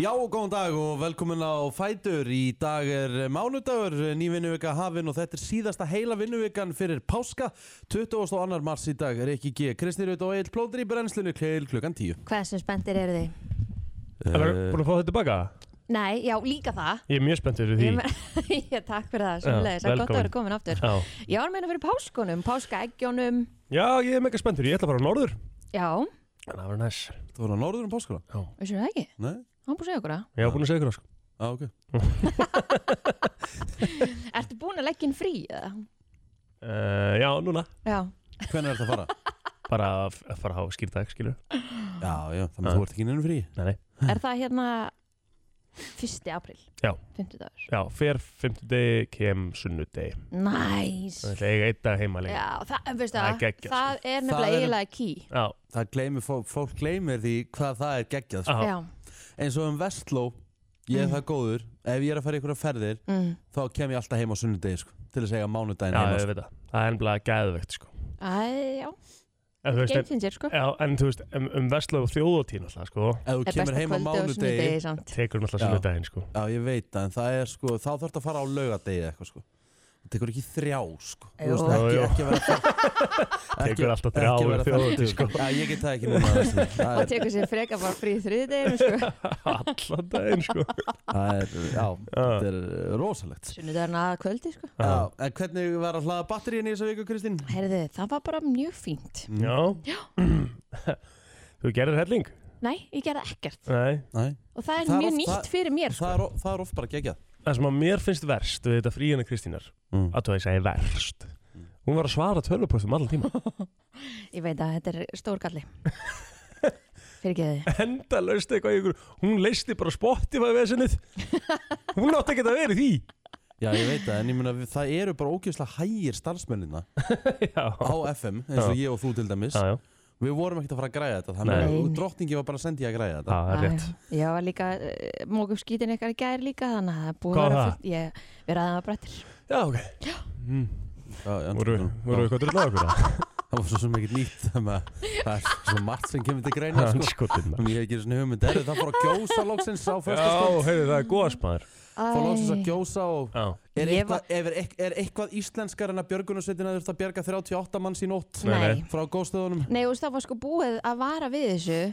Já, góðan dag og velkomin á Fætur. Í dag er mánudagur, ný vinnuvika hafin og þetta er síðasta heila vinnuvikan fyrir páska. 22. mars í dag er ekki G. Kristnir Rut og Egil Plóður í brennslunni til klukkan Eh, 10. Hversu spenntir eru þið? Það verður búin að fá þetta tilbaka? Nei, já, líka það Ég er mjög spennt fyrir því. Ég me- Ég takk fyrir það, svolítið, það er gott að velkomin. vera komin aftur Já. Já, hann meina fyrir páskunum, páskaeggjónum Já, ég er mega spennt fyrir. Ég ætla að fara á norður. Já, En það verður næs. Þú voru á norður um páskuna? vissir það ekki? Nei? Hann búið að segja okkur það Ég var búin að segja ykkur það sko. Á, ok. Ertu búin að leggja inn frí eða? Uh, já, núna. Já, Hvernig er þetta að fara? Bara að að fara á skýrdag, skilur. já, já, þannig að þú ert ekki innum frí. Nei, nei. er það hérna 1. april? Já. 50 dagur Já, fer fimmtudegi, kem sunnudegi. Næs Það er eiga eitt dag heima lengi. Já, það, veistu Það er það, geggjað, sko. það er Það er- nefnilega eiginlega ký Já, Það gleymir, fólk, fólk gleymir því hvað það er geggjað. sko. Já. Já, Eins og um Vestló, ég er Mm. það góður, ef ég er að fara ykkur að ferðir, mm, þá kem ég alltaf heim á sunnudegi, sko, til að segja mánudaginn já, heima, ég sko. veit það. Það er ennblega gæðvegt sko. Æ, já, En þú veist, en, geinsinn sér sko já, en þú veist, um, um vestlöf og þjóðotín alltaf sko. Ef þú Er kemur besta heim á kvöldið og mánudegi, sunnudegi samt. Tekur alltaf Já. sunnudegin sko. Já, ég veit það, en það er sko, þá þarf að fara á laugadegi eitthvað sko. Það tekur ekki þrjá sko. Þú Jú. veist, Jú, ekki, jú. ekki vera það. Tekur alltaf þrjá ekki vera yfir þjóðhátíð, fertug, sko. Já, ég get það ekki núna. veistu. Það og er, tekur sér freka bara frí þriðdeginum sko. Alltaf daginn sko. það er, já, þetta er uh, rosalegt. sunnudagurinn að kvöldi sko. Já, en hvernig var að hlaða batteríin í þessa viku, Kristín? Herðu, það var bara mjög fínt Hm. Já. Þú gerir helling? Nei, ég gerði ekkert Nei. Nei, og það er Það er mjög oft- nýtt það- fyrir mér sko. það er, o- það er oft bara gegjað. það sem að mér finnst verst við þetta fríina Kristínar Mm. að þú að ég segi verst hún var að svara tölvupostum allan tíma Ég veit að þetta er stórgalli Fyrir geði enda löst eitthvað í ykkur hún leisti bara Spotify vesenið hún átti ekki að vera í því Já, ég veit það, en ég meina, við- það eru bara ógeðslega hægir starfsmennina já, á FM, eins og Já. ég og þú til dæmis. já, já, Við vorum ekkert að fara að græða þetta, þannig Nei. að drottningi var bara að sendja að græða þetta. það er rétt Ég var líka, uh, mók upp skítin ykkar í gær líka þannig að það er búið Hvað að vera var fullt Ég verið aðeins brettir já, ok, Hmm. Já, já, voru já. voru eitthvað drullið okkur það? Það var svo sem ekki nýtt þannig að það er svo margt sem kemur til greina hann sko. skotin Þannig að ég hef ekki svona hugmynd Er það fór að gjósa loksins á já, föstaskvöld? heyrðu, það er góðasmaður Fór loksins að gjósa og já, Er Ég eitthvað, er, er, er eitthvað íslenskar en að björgunarsveitin að þurft að bjarga 38 manns í nótt Nei, Nei, nei. frá góðstöðunum? Nei, og það var sko búið að vara við þessu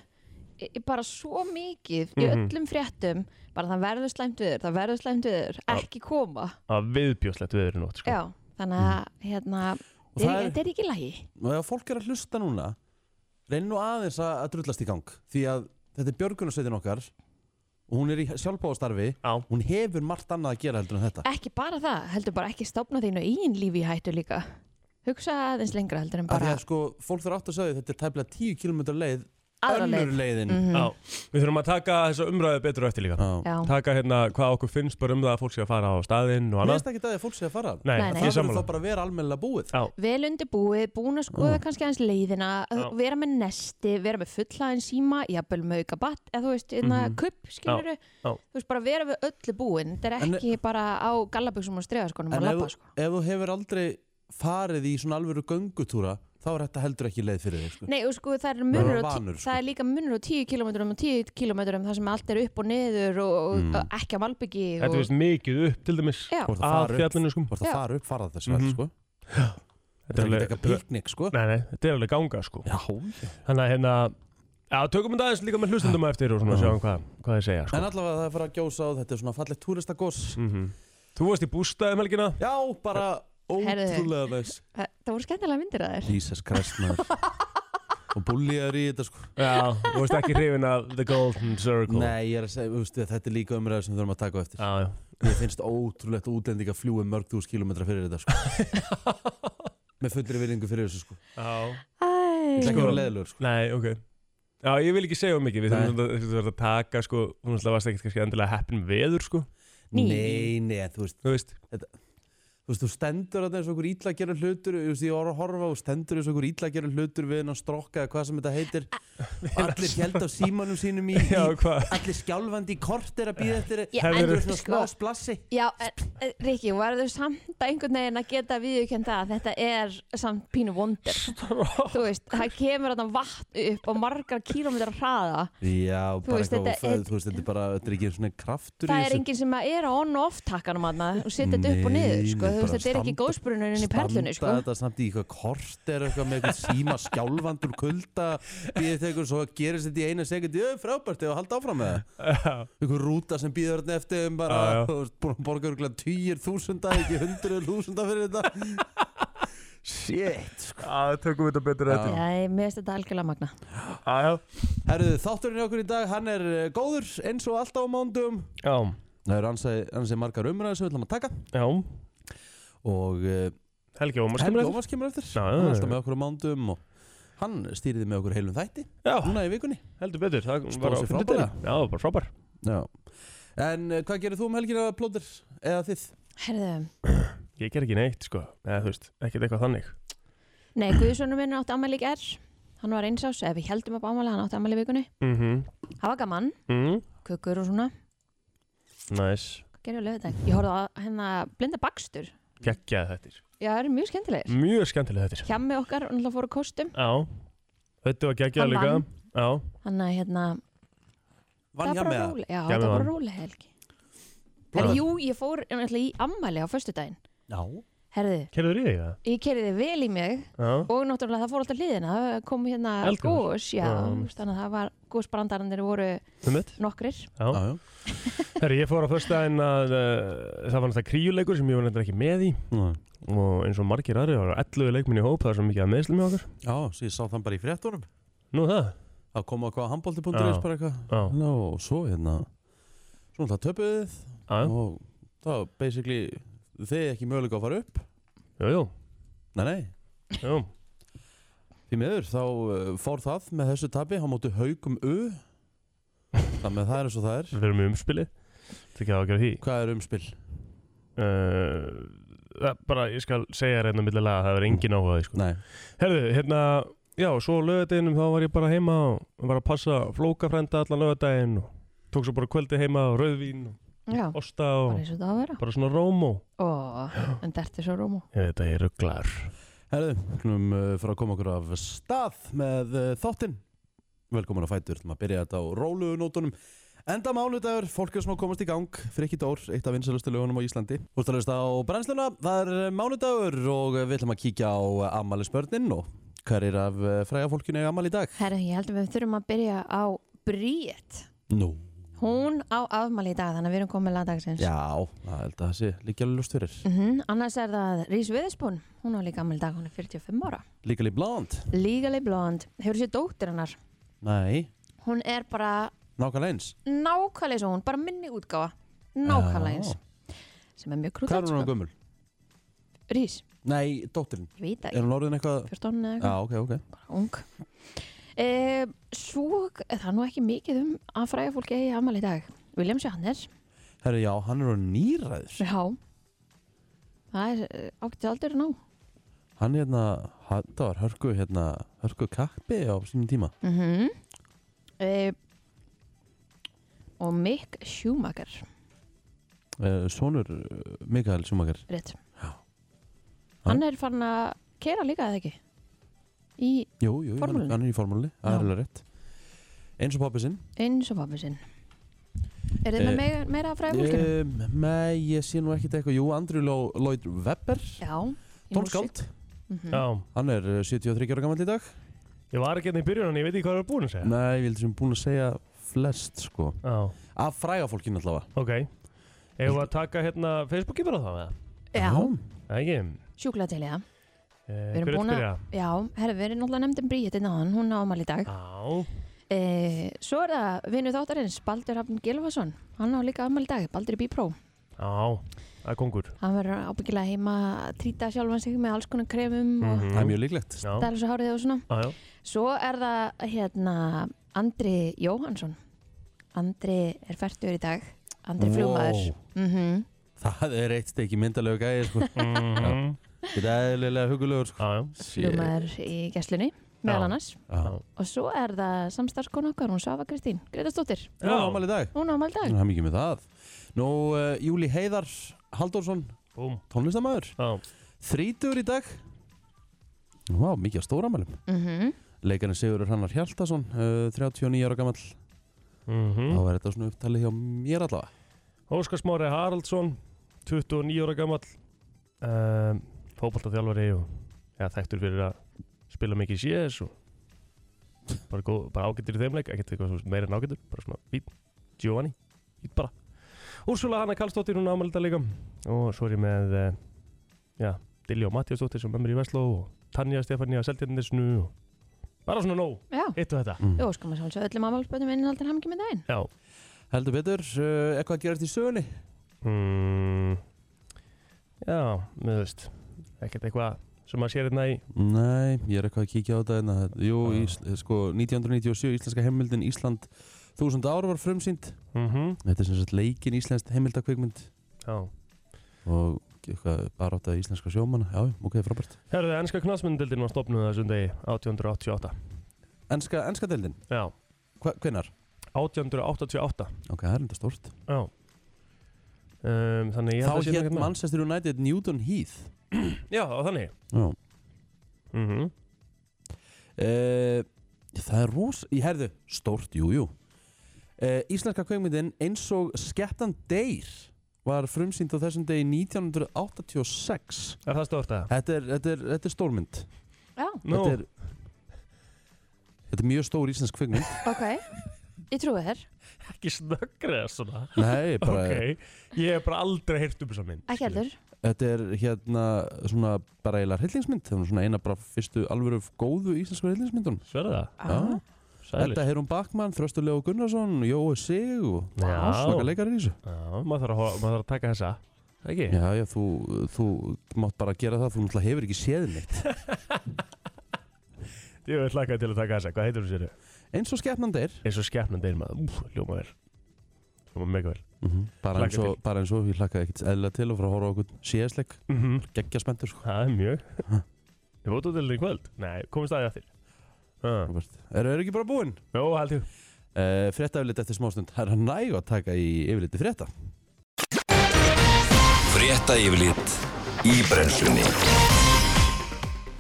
í- í bara svo mikið í Mhm. öllum fréttum bara það verður slæmt viður, það verður slæmt viður Já. ekki koma það var viðbjóslegt við erum nótt sko. Já, þannig að hérna, Og þetta það er, er- þetta er ekki lægi Og ef fólk er að hlusta núna reynir nú aðeins að, að drullast í gang því að þetta er björgunarsveitin okkar og hún er í sjálfbóðastarfi já, hún hefur margt annað að gera heldur en þetta Ekki bara það, heldur bara ekki stopna þínu eigin lífi í hættu líka Hugsa aðeins lengra heldur en Af því bara að sko, fólk þarf átt að segja þetta er tæplega 10 km leið aðra önnur leið leiðin Mhm. já við þurfum að taka þessa umræðu betur á eftir líka Já. Já, taka hérna hvað okkur finnst bara um það að fólk sé að fara á staðinn og Mér annað finnst ekki það að fólk sé að fara Nei, Nei, nei. Það ég er verður sammála þá bara að vera almennilega búið Já, vel undirbúið, búin að skoða Mm. kannski aðeins leiðina Já. vera með nesti, vera með fullaðin síma jafnvel með auka batt, eða þú veist innan mm Mhm. kupp, skilur já. þú veist bara vera við öllu búin, þetta er En- ekki bara á gallabuxum og stregaskonum og En labba ef, sko ef þú hefur aldrei farið í svona alvöru göngutúra þá er þetta heldur ekki leið fyrir þig sko. Nei, og sko, það er, Maður munur er á tí- vanur, sko. það er líka munur á 10 km og 10 km þar sem allt er upp og niður og, og, Mm. og ekki á Malbyggi þetta og, veist mikið upp til dæmis Já. Hvort að að fara upp, fjallinu sko hvort að Já. fara upp fara þessi Mhm. vel sko. Þetta er ekki eitthvað nei, píknik sko. nei, þetta er alveg ganga sko Já. Þannig að hérna, já, tökum við aðeins líka með hlustendum á eftir og svona Já. sjáum hvað, hvað þið segja sko En allavega það er að fara að gjósa og þetta er svona fallegt túristagos Mhm. Þú varst í bústaði melgina Já, bara ótrúlega veist Það, það voru skemmtilega myndir að þér Jesus Christ maður Og búlíðar í þetta sko Já, þú varst ekki hrifin af The Golden Circle Nei, ég er að segja, þú veist, þetta er líka umræður sem við þurfum að taka á eftir Já, já, Mér finnst ótrúlegt að útlendinga fljúi mörg þús kilometra fyrir þetta sko. Með fullri virðingu fyrir þessu sko. já Ég ætla ekki að Sko- vera leðilegur sko. Nei, ok Já, ég vil ekki segja um mikið, við Nei. þurfum að, að, að taka sko, þú veist, það varst ekkert kannski endilega heppin veður sko, Ný. Nei, nei, en þú veist, þú veist þú þú veist, þú stendur þetta eins og okkur ítla að gera hlutur þú veist, ég var að horfa og stendur eins og okkur ítla að gera hlutur við hennan strokka eða hvað sem þetta heitir og allir held á símanum sínum í, Já, í hvað? allir skjálfandi í kort er að býða eftir Já, en- Þetta er svona sko- smá splassi Já, en, en, Riki, varður samt að einhvern veginn að geta viðjökjönda að þetta er samt pínu vondir Þú veist, það kemur þarna vatn upp á margar kílómetrar hraða Já, Þú bara veist, eitthvað og þetta föð, er- þú veist, þetta er bara, þetta er ekki svona kraftur Það er enginn sem að er á on-off takkanum aðna og setja þetta upp og Nei, niður, nei, sko Þú veist, bara þetta er ekki standa- góðsprununin í perlunni, sko Standa þetta samt í eitthvað kort er eitthvað með eitthvað síma skjálfandur kulda býðið til eitthvað svo gerist þetta í eina sekundi Jú, frábært, ef að halda áfram með það Eitthvað rúta sem býður þarna eftir um bara Já, já. þú veist, búin að borga örgulega týjir þúsunda ekki hundruð þúsunda fyrir þetta Shit sko. Það tökum við þetta betur Já. eftir Já, ég meðist þetta algjörlega magna Já, já. Herðu, þátturinn hjá okkur í dag, hann er eh, góður eins og alltaf á mándum Já, Það eru ansið, ansið margar umræður sem við ætlum að taka já og uh, Helgi Ómars Helgi kemur eftir Ómars kemur eftir Já, já, hann er já. alltaf með okkur á mándum og hann stýriði með okkur heilum þætti Já, núna í vikunni heldur betur Það Stóð var á sig fimmtudaginn. Já, bara frábær Já. En uh, hvað gerir þú um helgina plóður eða þið? Herðu, Ég ger ekki neitt, sko Eða, þú veist, ekkert eitthvað þannig Nei, Guðsonur minn átti ammæli í ger Hann var eins ás, ef við heldum upp ammæli, hann átti ammæli í vikunni Mhm, Það var gaman, mhm, kukur og svona næs Hvað gerði á lögadag? Ég horfði á hérna blinda bakstur Gekkjaði þettir Já, það eru mjög skemmtilegir Mjög skemmtilega þettir Hjammi okkar, hann alltaf fóru kostum Já, þetta var gekkjaði Hann líka vann. Já, Hann að hérna, Vann það hjá var með bara það? róli Já, Hjammi það var bara vann. róli helgi Blöð. Herri, jú, ég fór náttúrulega í ammæli á föstudaginn Já. Herði, kerður í þig það? ég kerði þið vel í mig Já, og náttúrulega það fór alltaf hliðina það kom hérna Eldgos. gós, já, Já. þú veist, þannig að það var gósbrandarannir voru þú mitt nokkrir Já, Já, já. Herri, ég fór á föstudaginn að uh, það var náttúrulega kríuleikur sem ég var náttúrulega ekki með í Já, og eins og margir aðri var 11 leikminni í hóp, það var svo mikið að meðslum í okkar Já, svo ég sá þann bara í fréttunum. Nú það? Það kom á hvað handbólti.is Já. bara eitthvað. Já, Já, og svo hérna, svona það töpuðu þið já, og það var basically þið ekki möguleika að fara upp. jú, jú, Nei, nei. jú Því miður, þá uh, fór það með þessu tabi, hann móti haugum U. Þannig að það er eins og það er. Við erum í umspili Það er ekki að gera því Hvað er um umspil? uh, það, Bara, ég skal segja þér hérna millilega að það er engin áhuga á því sko. Nei. Herðu, hérna, já, svo á lögadeginum þá var ég bara heima og var að passa flókafrenda allan lögadegin og tók svo bara kvöldi heima og rauðvín Já, og osta bara og eins og það á að vera bara svona rómó Ó, en þetta er svo rómó Ég veit að ég rugglar Herðu, klum uh, fyrir að koma okkur af stað með uh, þáttinn. Velkomin að fætur, maður byrja þetta á rólugunótunum. Enda mánudagur, fólk er svona að komast í gang, Frikki Dór, eitt af vinsalustu lögunum á Íslandi. Þú ert að hlusta á brennsluna, það er uh, mánudagur og uh, við ætlum að kíkja á uh, ammælisbörnin og hver er af uh, fræga fólkinu í ammæli í dag? Herri, ég held að við þurfum að byrja á Bríett Nú. Hún á afmæli í dag, þannig að við erum komið lagdagsins Já, það held að það sé líka alveg lust fyrir. mm Annars er það Rís Viðspún, hún á líka afmæli í dag, hún er 45 ára Líka líka bland? Lígali blond, hefur sér dóttir hennar Nei, Hún er bara nákvæmlega eins. nákvæmlega eins og hún, bara minni útgáfa Nákvæmlega eins, Já. sem er mjög Hvað krútt er hún á gömul? Rís, Nei, dóttirinn. ég veit Er ekki, hún orðin eitthvað? 14 eða Já, eitthvað, ok, ok. bara ung e, Svo, er það er nú ekki mikið um að fræga fólki eigi afmæli í dag William Shatner, Herri, já, hann er á nýræður. já Það er ágætið aldur nú Hann hérna, hann, það var hörku, hérna, hörku kappi á sínum tíma. mm Mhm. Eh, Og Mick Schumacher Uh, sonur eh, Mikael Schumacher. Rétt Já. Hann er farin að kera líka eða ekki Í Jú, jú, hann, Formúlunni? hann er í formúlunni, það Já. er alveg rétt. Eins og pappi sinn. eins og pappi sinn Er þið Eh, með meira, meira að fræða fólkinu? Um, Nei, ég sé nú ekkit eitthvað, jú, Andrew Lo- Lloyd Webber, Já í músík. tónskáld. Mhm. Já, Hann er eh, 73 ára gammal í dag. ég var ekki hérna í byrjun en ég veit ekki hvað það var búin að segja Nei, við sem búin að segja flest, sko. Já, Af fræga fólkinu allavega. ok Eða var að taka hérna Facebooki bara þá eða? Já, Nei, ekki sjúklega til í það Eh, Við erum hver vill búin að- byrja? Já, herra, við erum náttúrulega nefndin Bríetin á hann, hún á ámæli í dag Já, e, Svo er það vinnu þáttarins, Baldur Hafn Gilvason Hann á líka ámæli í dag, Baldur er bípró já, það er kongur Hann verður ábyggilega heima að trýta sjálfan sig með alls konar kremum Mhm, og Mm. Það er mjög líklegt. Já, dæla svo hárið og svona já, já Svo er það hérna Andri Jóhansson Andri er færtur í dag Andri flugmaður Wow. mm Það er eitt stykki myndalög gæði sko. Þetta er eðlilega hugulegur sko. Mhm. Já, já. Ljómaður í gæslunni, meðal Já. annars Já, og svo er það samstarfskona okkar, hún Svafa Kristín Gretastóttir, já ámæli í dag hún á mæl dag Það er mikið með það Nú, uh, Júli Heiðar Halldórsson, Búm. tónlistamæður Já. Þrítur í dag Vá, mikið á stóramælum mm Leikarinn Sigurður Hannar Hjaltason, uh, 39 ára gamall Mhm. Þá er þetta svona upptalið hjá mér allavega Óskar Smári Haraldsson 29 ára gamall um, fótballtaþjálfari og ja, þekktur fyrir að spila mikið CS og bara, góð, bara ágættur í þeim leik ekkert eitthvað svo meira en ágættur bara svona fít, Giovanni, fít bara Úrsula Hanna Karlsdóttir, hún ámælda líka og svo er ég með uh, já, Dilljó Mattiasdóttir sem er mér í Vestló og Tanja Stefania Seldjarnisnu og bara svona nóg, Já, hittu þetta Mm. við óskum að sjálfsög öllum ámálspöndum innhaldan hamingi með daginn Já, Heldur betur, uh, eitthvað að gerast í sögunni Mm, já, með veist ekkert eitthvað sem maður sér hérna í Nei, ég er eitthvað að kíkja á þetta en að, jú, Já. ís, sko, 1997 íslenska heimildin Ísland 1000 ára var frumsýnd mm Þetta er sem sagt leikin íslenskt heimildakveikmynd Já og eitthvað barátta íslenska sjómanna Já, ok, frábært Herðu, ennska knastmyndildin var stopnuð þessum degi 1888 Enska, enska deildin, Já, Hva, hvenar? 1888 Ok, það er enda stórt Já um, Þannig ég Þá held að sé nú hétt ekkert með. Manchester United Newton Heath Já, á þannig Já mm -hmm. uh, Það er ros... Ég herðu, stórt, jú, jú uh, Íslenska kveikmyndin eins og Skeptan Deyr var frumsýnd á þessum degi 1986 Er það stort að? Þetta er, þetta er, þetta er stórmynd Já, Nú, þetta, er, þetta er mjög stór íslensk kveikmynd ok, ég trúi þér ekki snöggrið svona Nei, bara Ok, ég hef bara aldrei heyrt um þessa mynd ekki heldur, Þetta er hérna svona bara eiginlega hryllingsmynd Það er svona eina bara fyrstu alvöru góðu íslensku hryllingsmyndun Sverða það? Ah. Þetta Sælir er hún Bakmann, Þröstur Leo Gunnarsson, Jói Sig og Já. svaka leikar í þessu Já, maður þarf að, horfa- maður þarf að taka þessa Ekki? Já, já, þú, þú mátt bara gera það, þú náttúrulega hefur ekki séð neitt Ég vil lakaði til að taka þessa, hvað heitur þú sér? Eins og skepnan deyr eins og skepnan deyr maður Úf, hljóma vel Hljóma mega vel Mhm. bara, eins Hlakka og, bara eins og ég hlakkaði ekkert eðla til og frá að horfa á okkur séðsleik, mm -hmm. geggja spenntur sko. Það er mjög Ég fótt út til í kvöld Nei, komist aðeins aftur uh. Eru er ekki bara búin? Jó, held ég Uh, Fréttaflitt eftir smástund, það er næg að taka í yfirliti frétta Frétta yfirlit í brennslunni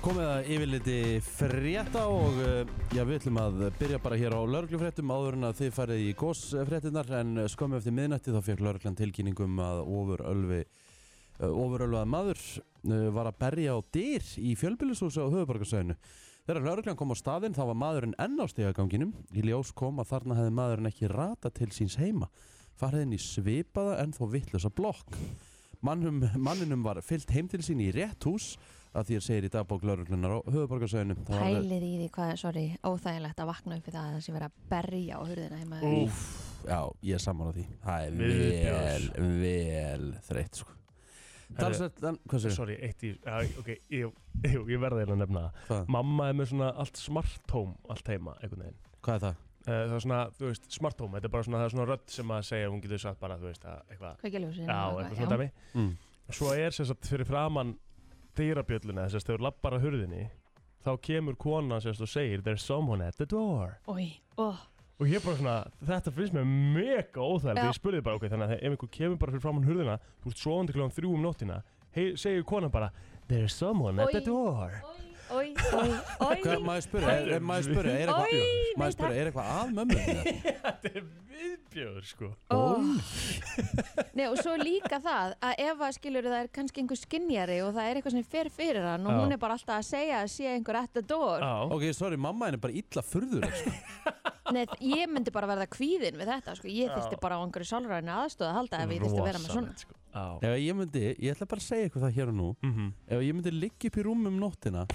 Komið að yfirliti frétta og uh, já, við ætlum að byrja bara hér á lauruglufréttum áður en að þið farið í gósfréttinar en uh, skömmu eftir miðnætti þá fekk lauruglan tilkynningum um að ofurölvi uh, ofurölvað maður uh, var að berja á dyr í fjölbýlishúsi á höfuborgarsöðinu. Þegar lauruglan kom á staðinn þá var maðurinn enn á stegaganginum í ljós kom að þarna hefði maðurinn ekki rata til síns heima farið inn í svipaða en þó vittlösa blokk. Mannum, manninum var fyllt heim til sín í rétt hús að því að segir í dagbók lauruglunar á höfuborgarsöðinu pælið í því hvað, sorry, óþægilegt að vakna upp við það að þessi verið að berja á hurðina heima í- Úf, já, ég er saman á því Það er Viðbjóðs. vel, vel þreytt sko Talsvert, en- hvað sér, Sorry, eitt í já, Ok, ég, ég, ég verði eða að nefna það. hvað, Mamma er með svona allt smart home Allt heima, einhvern veginn hvað er það? Eh, Það er svona, þú veist, smart home Þetta er bara svona, það er svona rödd sem að segja Hún getur sagt bara, þú veist, að eitthvað kveikja ljósin Já, eitthvað svona dæmi Mm. Svo er sem sagt fyrir framann dýrabjölluna Þess að þau lappar að hurðinni Þá kemur konan sem sagt og segir There's someone at the door Ói, ó, Og ég bara svona, þetta finnst mér mega óþægilegt Já. Ég spurði bara, ok, þannig að ef einhver kemur bara fyrir framann hurðina Þú ert svoandi kljóðan þrjú um nóttina hey, Segir konan bara, there's someone at the Oj. door ói, ói, Hvað, ói maður spyrja, er, er, maður spyrja, er Oj, eitthvað nei, Maður takk. spyrja, er eitthvað að mömmu þinni? Þetta er viðbjör, sko Ó. Nei og svo líka það að ef að skilur það er kannski einhver skinnjari og það er eitthvað sem fer fyrir hann og Já. hún er bara alltaf að segja að sé einhver at the door Já, Ok, sorry, mamma henni er bara illa furður sko. Nei ég myndi bara verða kvíðin við þetta sko, ég þyrsti bara á einhverju sálræðinu aðstóð að halda ef ég þyrsti að vera með svona Rosalegt, sko. Já, Ef ég myndi, ég ætla bara að segja eitthvað það hér og nú Mhm. Ef ég myndi liggja upp í rúmum nóttina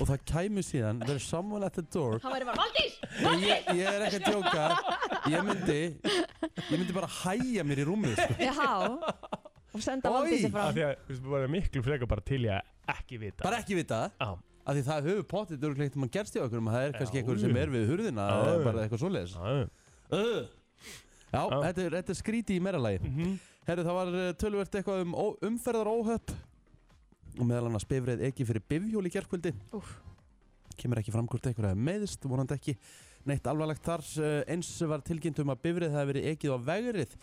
og það kæmi síðan, there is someone at the door Hann væri bara, Valdís! Nei, ég, ég er ekki að djóka Ég myndi Ég myndi bara hæja mér í rúmið sko. Já, og senda Oj. Valdísi frá af því að, þú veist, við varum miklu frekar bara til ég að ekki vita Bara ekki vita það Já, Af því það höfum pottið Örgleikt mann gerst hjá okkur um að Það er kannski Já, einhver jú. sem er við hurðina Já, eða jú. Bara eitthvað svoleiðis já, Mhm. Já, þetta er, þetta er skrítið í meira lagi Herri, það var eh, töluvert eitthvað um ó- umferðaróhöpp og meðal annars bifreið ekki fyrir bifjól í gerkvöldi Úf. kemur ekki fram hvort eitthvað meðist, vonandi ekki neitt alvarlegt þar eh, eins var tilkynnt um að bifrið hafi verið ekið á vegrið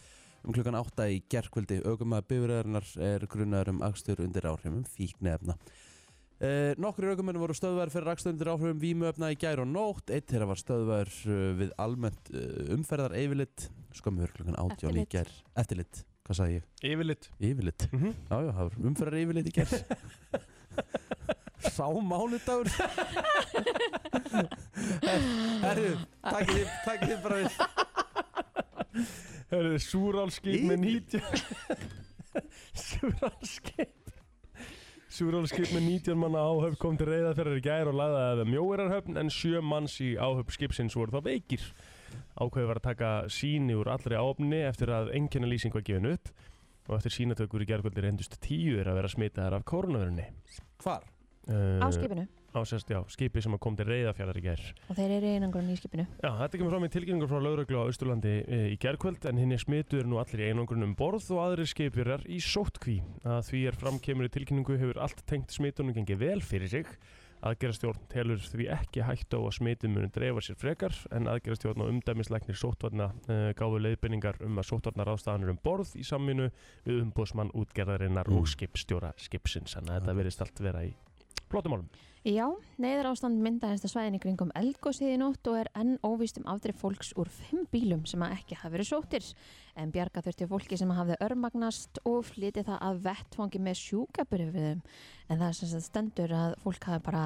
um klukkan 8 í gerkvöldi augum að bifriðarinnar er grunaður um akstur undir áhrifum fíknefna Eh, nokkri raukumenn voru stöðvæður fyrir akstur undir áhrifum vímuöfna í gær og nótt eitt þeirra var stöðvæður eh, við almennt eh, umferðar yfirlit skömmur klukkan 18 í Eftirlit. gær eftirlit, hvað sagði ég? Yfirlitt Yfirlit mm -hmm. Já, já, það var umferðar yfirleitt í gerð Sá mánudagur Herru, takk þið, takk þið bara við Hörðu, súrálskip með 90 Súrálskip Súrálskip með 19 manna áhöf kom til reyða þegar í gær og lagði að mjóirarhöfn en sjö manns í áhöf skipsins voru þá veikir Ákveði var að taka síni úr allri áhöfni eftir að enginna lýsing var gefin upp og eftir sínatökur í gærkvöldi reyndust tíu er að vera smitaðar af koronavirunni Hvar? uh, á skipinu Á sérst, já, skipi sem kom til reyða í gær og þeir eru einangrun í skipinu Já, þetta kemur fram í tilkynningur frá lauruglu á Austurlandi e, í gerkvöld en hinn er smituður nú allir í einangrun um borð og aðrir skipjurar í sótkví. Að því er framkemur í tilkynningu hefur allt tengt smitunum gengið vel fyrir sig. Aðgerastjórn telur því ekki hægt á að smitum munu dreifa sér frekar en aðgerastjórn og umdæmislegnir sóttvarna e, gáfu leiðbendingar um að sóttvarna ráðstafanir um borð í samminu við umbóðsmann útgerðarinnar Mm. og skipstjóra skipsins. Þannig að þetta verðist allt vera í flottumálum. Já, neyðar ástand myndaðist að svæðin í kringum eldgósið í nótt og er enn óvíst um afdrif fólks úr fimm bílum sem að ekki hafa verið sóttir. En bjarga þurfti fólki sem hafði örmagnast og flytti það að vettfangi með sjúkabrifiðum. En það er sem sagt stendur að fólk hafi bara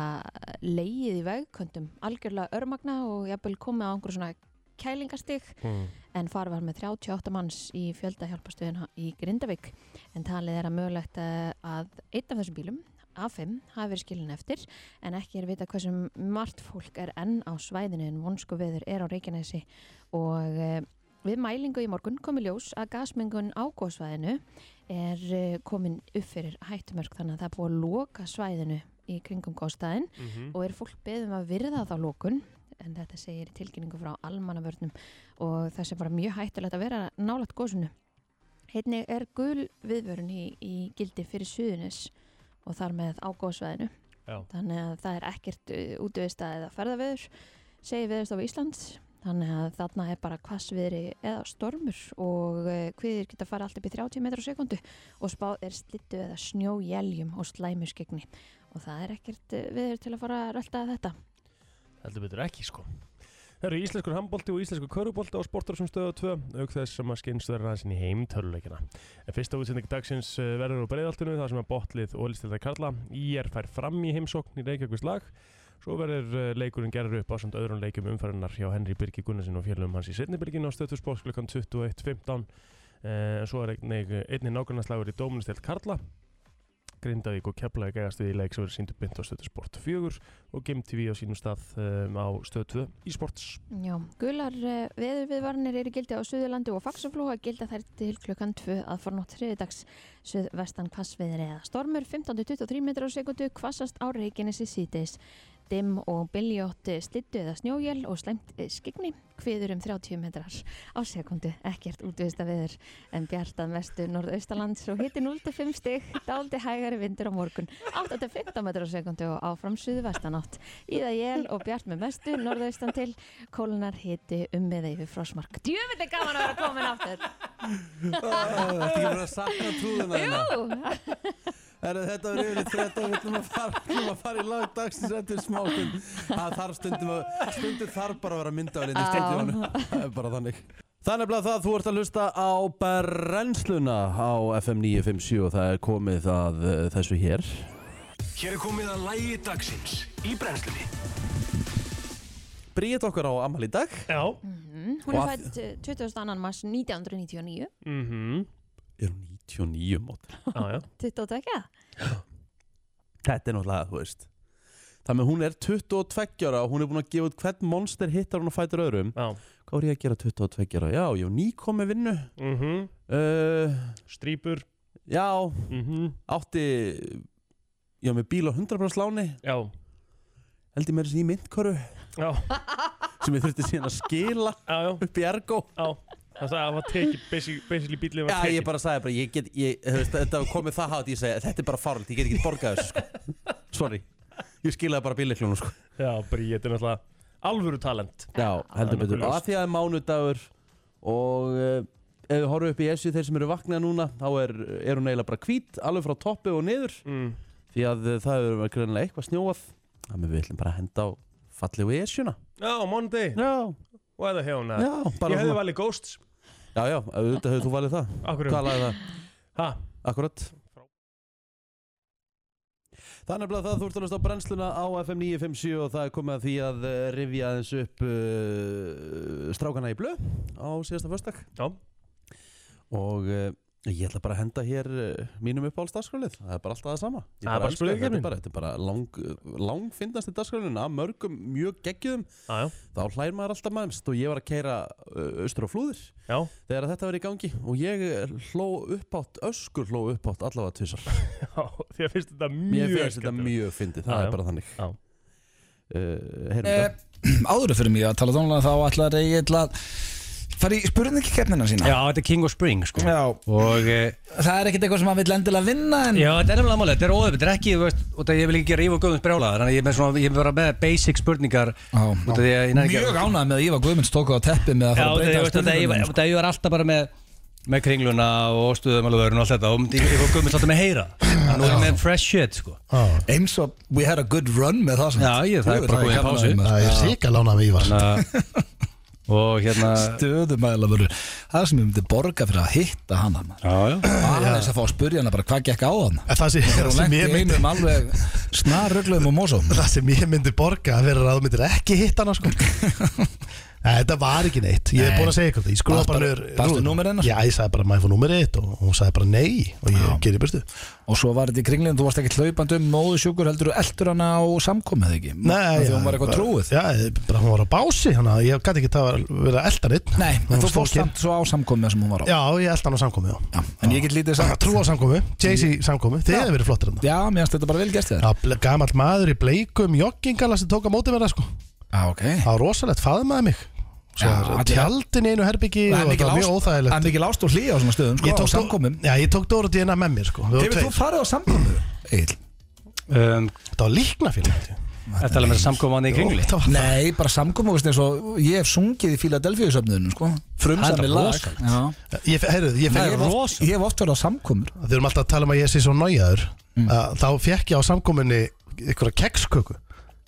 leið í vegköndum, algjörlega örmagna og jafnvel komið á einhver svona kælingastig Hmm. Mm. en far var með 38 manns í fjöldahjálpastöðina í Grindavík en talið er að mögulegt eh, að einn af þessum bílum A5 hafi verið skilin eftir en ekki er vita hversu margt fólk er enn á svæðinu en vonsku veður er á Reykjanesi og eh, við mælingu í morgun komi ljós að gasmengun á góðsvæðinu er eh, komin upp fyrir hættumörk þannig að það er búið að loka svæðinu í kringum góðstæðin og er fólk beðum að virða þá lókun en þetta segir í tilkynningu frá almannavörnum og það sé bara mjög hættulegt að vera nálægt góðsunu. Einnig er gul viðvörun í, í gildi fyrir suðunis og þar með á góðsvæðinu Já. þannig að það er ekkert útvista eða ferðaveður segir viðurstof Íslands þannig að þarna er bara hvassviðri eða stormur og hviðir geta fara allt upp í 30 metrar á sekundu og spáð er slittu eða snjójæljum og slæmuskegni og það er ekkert eh, veður til að fara að rölda þetta heldur betur ekki sko Það eru íslenskur handbólti og íslenskur körubólti á sportar sem stöðu 2, auk þess sem að skynst verður aðeins inn í heim töluleikina. En fyrsta útsending dagsins eh, verður á breiðaltunum þar sem að botlið og listildar Karla IR fær fram í heimsókn í Reykjavíkvist lag. Svo verður eh, leikurinn gerður upp á samt öðrum leikum umfærunar hjá Henry Birgi Gunnarsson og fjölum hans í setnibyrgin á stöðu sport klukkan 21.15. Eh, Svo er einnig, einnig nákvæmnaslagur í dómunistild Karla. Grindavík og Keflavík eigast við í leik sem verður síndu bynd á stöðu sport 4 og Game TV á sínum stað um, á stöð 2 í sports. Já, gular uh, veðurviðvarnir eru gildi á Suðurlandi og Faxaflóa gilda þær til klukkan 2 að fornótt þriðdags Suðvestan hvassviðri eða stormur 15-23 metrar á sekundu hvassast á Reykjanesi síðdeis Dimm og biljótt slittu eða snjójél og slæmt eh, skyggni hviður um 30 metrar á sekundu ekkert útvista veður en bjartað mestu norðaustalands og hitti 0-5 stig, dáldi hægari vindur á morgun 8-15 metrar á sekundu og áfram suðvestanátt Íða jél og bjart með mestu norðaustan til kólunar hiti um eða yfir frosmark Djöfitt er gaman að vera komin aftur Þetta ekki bara að sakna trúðuna hérna Jú, Herru, þetta var yfirleitt þetta og við ætlum að fara, ætlum að fara í lag dagsins eftir smákun Það þarf stundum að, stundum þarf bara að vera myndavelin í Já. stundjónu Það er bara þannig Þannig að það, þú ert að hlusta á brennsluna á FM 957 og það er komið að eh, þessu hér Hér er komið að lægi dagsins í brennslunni Bríðið okkar á amal í dag Já. Mm, hún Og er eh, að- fætt 22. mars 1999 Mm Mhm. -hmm. Er hún 99 mót? ah, já. 22. Þetta er náttúrulega, þú veist Þannig að hún er 22 ára og hún er búin að gefa út hvern monster hittar hún að fætur öðrum Já. Hvað voru ég að gera 22 ára? Já, ég var nýkomi vinnu Mm uh, Strípur. Já, Mm átti Já, með bíl á 100% láni Já. held ég meira sér í myndkoru Já. sem ég þurfti síðan að skila Já, já. upp í ergo Já. Það það var tekið, basically, basically bílið var Já, tekið ég bara sagði bara, ég get, ég, þú veist, þetta var komið það hátt, ég segi, þetta er bara fáralt, ég get ekki borgað þessu, sko. Sorry. Ég skilaði bara bíleiklunum, sko. Já, Bríet er náttúrulega alvöru talent Já, heldur nokkuð betur. Og ljóst. að því að það er mánudagur og uh, ef við horfum upp í esju þeir sem eru vaknað núna, þá er, er hún eiginlega bara hvít, alveg frá toppi og niður, mm. því að uh, það eru greinlega eitthvað snjóað. Þannig við ætlum bara að henda á fallegu esjuna. Já, Monday, Já, og eða hjóna já, Ég bara hefði svona. valið Ghosts Já, já, auðvitað hefur þú valið það. Akkur um Hvað lagði það? Ha, Akkurat Það er nefnilega það þú ert að hlusta á brennsluna á FM 957 og það er komið að því að eh, rifja aðeins upp uh, strákana í blöð á síðasta förstak Já. Og uh, ég ætla bara að henda hér uh, mínum upp á alls dagskólið Það er bara alltaf það sama Ég Það er bara elska þetta. Þetta spurningakeppnin. er bara, þetta er bara lang, langfindast í dagskólinu af mörgum mjög geggjum já, já, Þá hlær maður alltaf mannst og ég var að keira austur á flúðir já þegar þetta var í gangi og ég eh, hló uppátt, öskur hló uppátt allavega tvissar Já, því að finnst þetta mjög Mér finnst þetta skemmtilegt. mjög fyndið, það Já, já. er bara þannig Já. Uh, Heyrum Eh, þetta áður fyrir mig að tala tónlega þá ætlar ég að fara í spurningkeppnina sína Já, þetta er King of Spring sko Já. Og eh, það er ekkert eitthvað sem maður vill endilega vinna en já, þetta er nefnilega málið, þetta er óöfn, þetta er ekki, þú veist, og það ég vil ekki gera íf og guðmunds brjálaðar Þannig að ég er með svona, ég er bara með basic spurningar Já, Út af því að ég nefnir mjög ánægð með að Ívar Guðmunds tók á teppi með að Já, fara að það breyta ég spurningunum veist að ég var- það ég var alltaf bara með með kringluna og stuðumáluvörun og allt þetta og myndi- ég fór guðmund alltaf með heyra En nú er ég með fresh shit sko sko. eins og we had a good run með það sem Já, ég- það er Jú, bara komið í gaman að pásu. þeim, Það er sík að lána með Ívar Þannig að- og hérna sko. stöðumæla voru það sem ég myndi borga fyrir að hitta hana maður. Já, já bara þess að fá að spurja hana bara hvað gekk á hana En Það sem- þegar það hún sem lendi ég í myndi einum alveg snarrugluðum og mósum Það sem ég myndi borga að vera að þú myndir ekki hitta hana sko Nei, þetta var ekki neitt Ég er Nei. búin að segja ykkur þetta Ég skrúða Barst bara bara- nöður barstu númerið hennar? Já, ég sagði bara maður fór númerið eitt og hún sagði bara nei og ég gerði burtu og svo var þetta í kringlinn, þú varst ekki hlaupandi um móðu sjúkur heldur þú eldur hana á samkomið ekki Nei, því já, hún var eitthvað bara- trúið Já, ég- bara hún var á bási Þannig að ég gæti ekki það að vera eldan einn nei, Hún en þú stóð fórst kyrr. samt svo á samkomið sem hún var á Já, ég eldan á samkomi já. Já, en ég get lítið Bara sagt Trú á samkomi, Jay-Z samkomi Þið hefur verið flottir hann já, mér finnst þetta bara vel gert þér Gamall maður í bleikum joggingala sem tók á móti verða sko já, ok Það var rosalegt, faðmaði mig Svo Já, var allir- tjaldin í einu herbyggi Það og er þetta mikil var mjög ást- það er óþægilegt mikil ást og hlýja á svona stöðum sko, Ég á tók, samkomum já, ég tók Dóra Dína með mér sko Við vorum Hefur þú tveir. farið á samkomum? Egil um, Þetta var líkna fyrir Þetta er alveg samkomaðan í kringli Þetta var Nei, bara samkomu veist, eins og ég hef sungið í Philadelphia söfnuðinu sko. Það frumsami er lag rosalegt. Já. Ég, heyrðu, ég Ég fekk, hef oft- ég hef oft verið á samkomur Þau erum alltaf að tala um að ég sé svo nájaður mm. Þá fekk ég á samkominni einhverja keksköku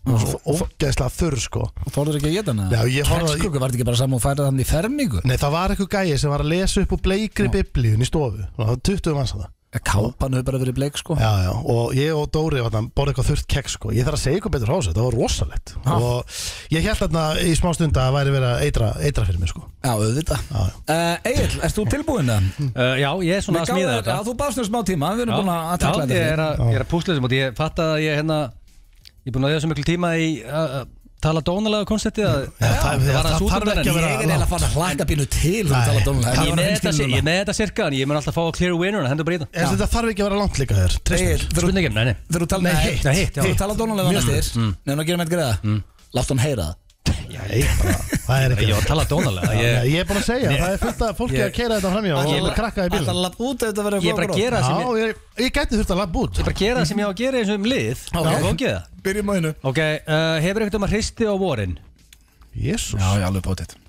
Og svo ógeðslega þurr sko Mm. og þorður ekki að geta hana Já, ég horfði- Kexköku var þetta ekki bara saman og færið hann í fermingu Nei, það var eitthvað gæi sem var að lesa upp úr bleikri biblíun í stofu og það var 20 manns að það kápan hefur bara verið bleik sko Já, já, og ég og Dóri þarna, borði eitthvað þurrt keks sko. Ég þarf að segja eitthvað betur hásu, það var rosalegt Ha. Og ég held þarna í smá stund að það væri verið að eitra, eitra fyrir mig sko. Já, auðvitað Já, já. uh, Egil, ert þú tilbúin það? uh, Já, ég er svona að smíða þetta Þú baðst nú smá tíma, við erum búin að að já, takla ég er þetta að, ég er að púsla þessum og ég fatt að ég hérna ég er búin að eða svo miklu tíma í að að tala dónalega konceptið að Já, það- var það aðeins þarf útundan ekki að en vera- ég- Ég er eiginlega fann um að hlaka bínu til Nei. en Ég ég er með þetta sir- ég er með þetta cirka en ég mun alltaf fá að clear winner hendur bara í það En þetta þarf ekki að vera langt líka þér treystu mér. Egil, þegar spurning ekki, nei, nei þú tala Nei, Nei, hitt, nei, hitt, já. hitt. Þú tala dónalega Mjög annars þér Nefnum að gera með eitthvað greiða Látt hann heyra það Nei, bara, það er ég ekki var að tala dónalega Nei, ég Ég er búin að segja, það er fullt af fólki Ég- að keira þetta framjá Ætlar og að- krakka í ætlar bílum að lappa út ef þetta verður Ég er bara að gera það sem Já, ég, ég gæti þurft að labba út ég bara gera það sem ég á að gera eins og um lið Ok. og fókið það Byrjum á einu ok, uh, hefur eitthvað um að hristi á vorin Jésús Já, já, alveg bótið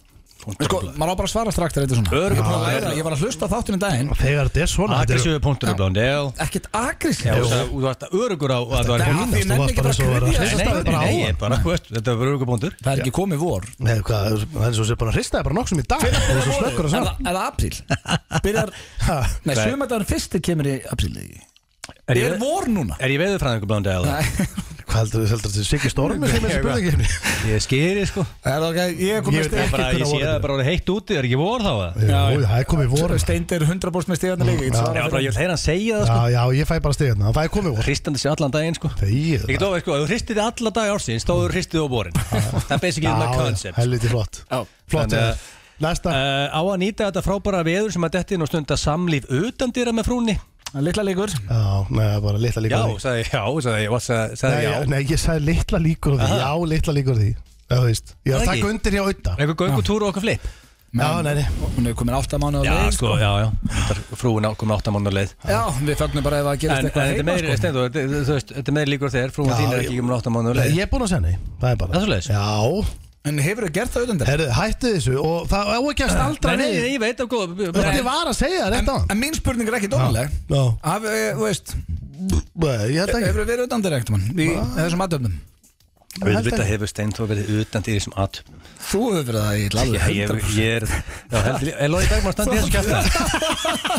Sko, maður á bara að svara strax þegar þetta er svona Örgum að læra Ég var að hlusta á þáttinu daginn Þegar þetta er svona þetta er- agressíu punktur í blóndel Ekkert Já, aggressív þú veist að- þú varst örugur á að það var Nei, Nei, því þú nenni varst ekki bara bara svo að að kryfja vera- þessa nei, staðinn. nei, nei, Nei, ég er bara, þú veist, þetta var örugur punktur Það er ekki komið vor Nei, hvað, það er eins og sé bara að hrista þér bara nokkuð sem í dag Það er svo Er slökkur að það segja er það apríl? Byrjar Nei, sömendagurinn fyrsti kemur í apríl Er Er, ég- er vor núna? er ég veður fræðingur blóndel Hvað heldur þú, heldur þú, Siggi Stormi sem þessi spurningkefni? ég skýri sko Er það ok, ég er Ég komið veit steg ekki. bara, ég hvernig sé voru það bara orðið heitt úti, er ekki vor þá að Jú, Já, já. það er komið vor Já, Steind er 100% með stegarna líka Já. Já, bara, ég vil heyra hann segja það, já, ég fæ bara stegna, það er komið sko vor Hristandi sig allan daginn, sko Þegið Ég get ofið, sko, ef þú hristið þig alla dag ársins, þá þú hristið á borin Það er basically my Já, concept helviti flott Flott, Þannig að- Egill. Næsta uh, Á að nýta þetta frábæra veður sem að detti inn og stunda samlíf utan dýra með frúni Littla líkur Já, neða, bara litla Já, líkur á því. sagði, já, sagði, ég, sagði, Nei, sagði já Nei, ég sagði litla líkur á því Já, litla líkur á því Já, þú veist Ég var að Það taka ekki? undir hjá auðna Eitthvað göngutúr og okkur flip Já, nei, nei. Hún er komin áttamánu á Já, leið sko, já, já Þetta er Frúin á- komin áttamánu leið Já, við fögnum bara ef það En, gerist en eitthvað þetta er meiri, heima sko. Steindór, þetta- þú veist, þetta er meiri líkur á þér Frúin Já, þín er ég- ekki komin áttamánu leið Ég er búinn að segja nei, það er bara Það er svoleiðis? Já, En hefur þau gert það auðvendar? herru, hættu þessu og það á ekki að Nei, staldra nei, við nei, ég veit af góð Þetta var að segja þetta En, en mín spurning er ekki dónaleg Já, Haf, e, þú veist, Nei, ég held hefur ekki þau verið auðvendir ekkert mann Í þessum aðdöfnum held Auðvitað ekki. hefur Steindór verið utan til þessum at Þú hefur verið það í Ég, lalli ég, ég er Já, heldur Er Lói Bergman standið þessu kæfta?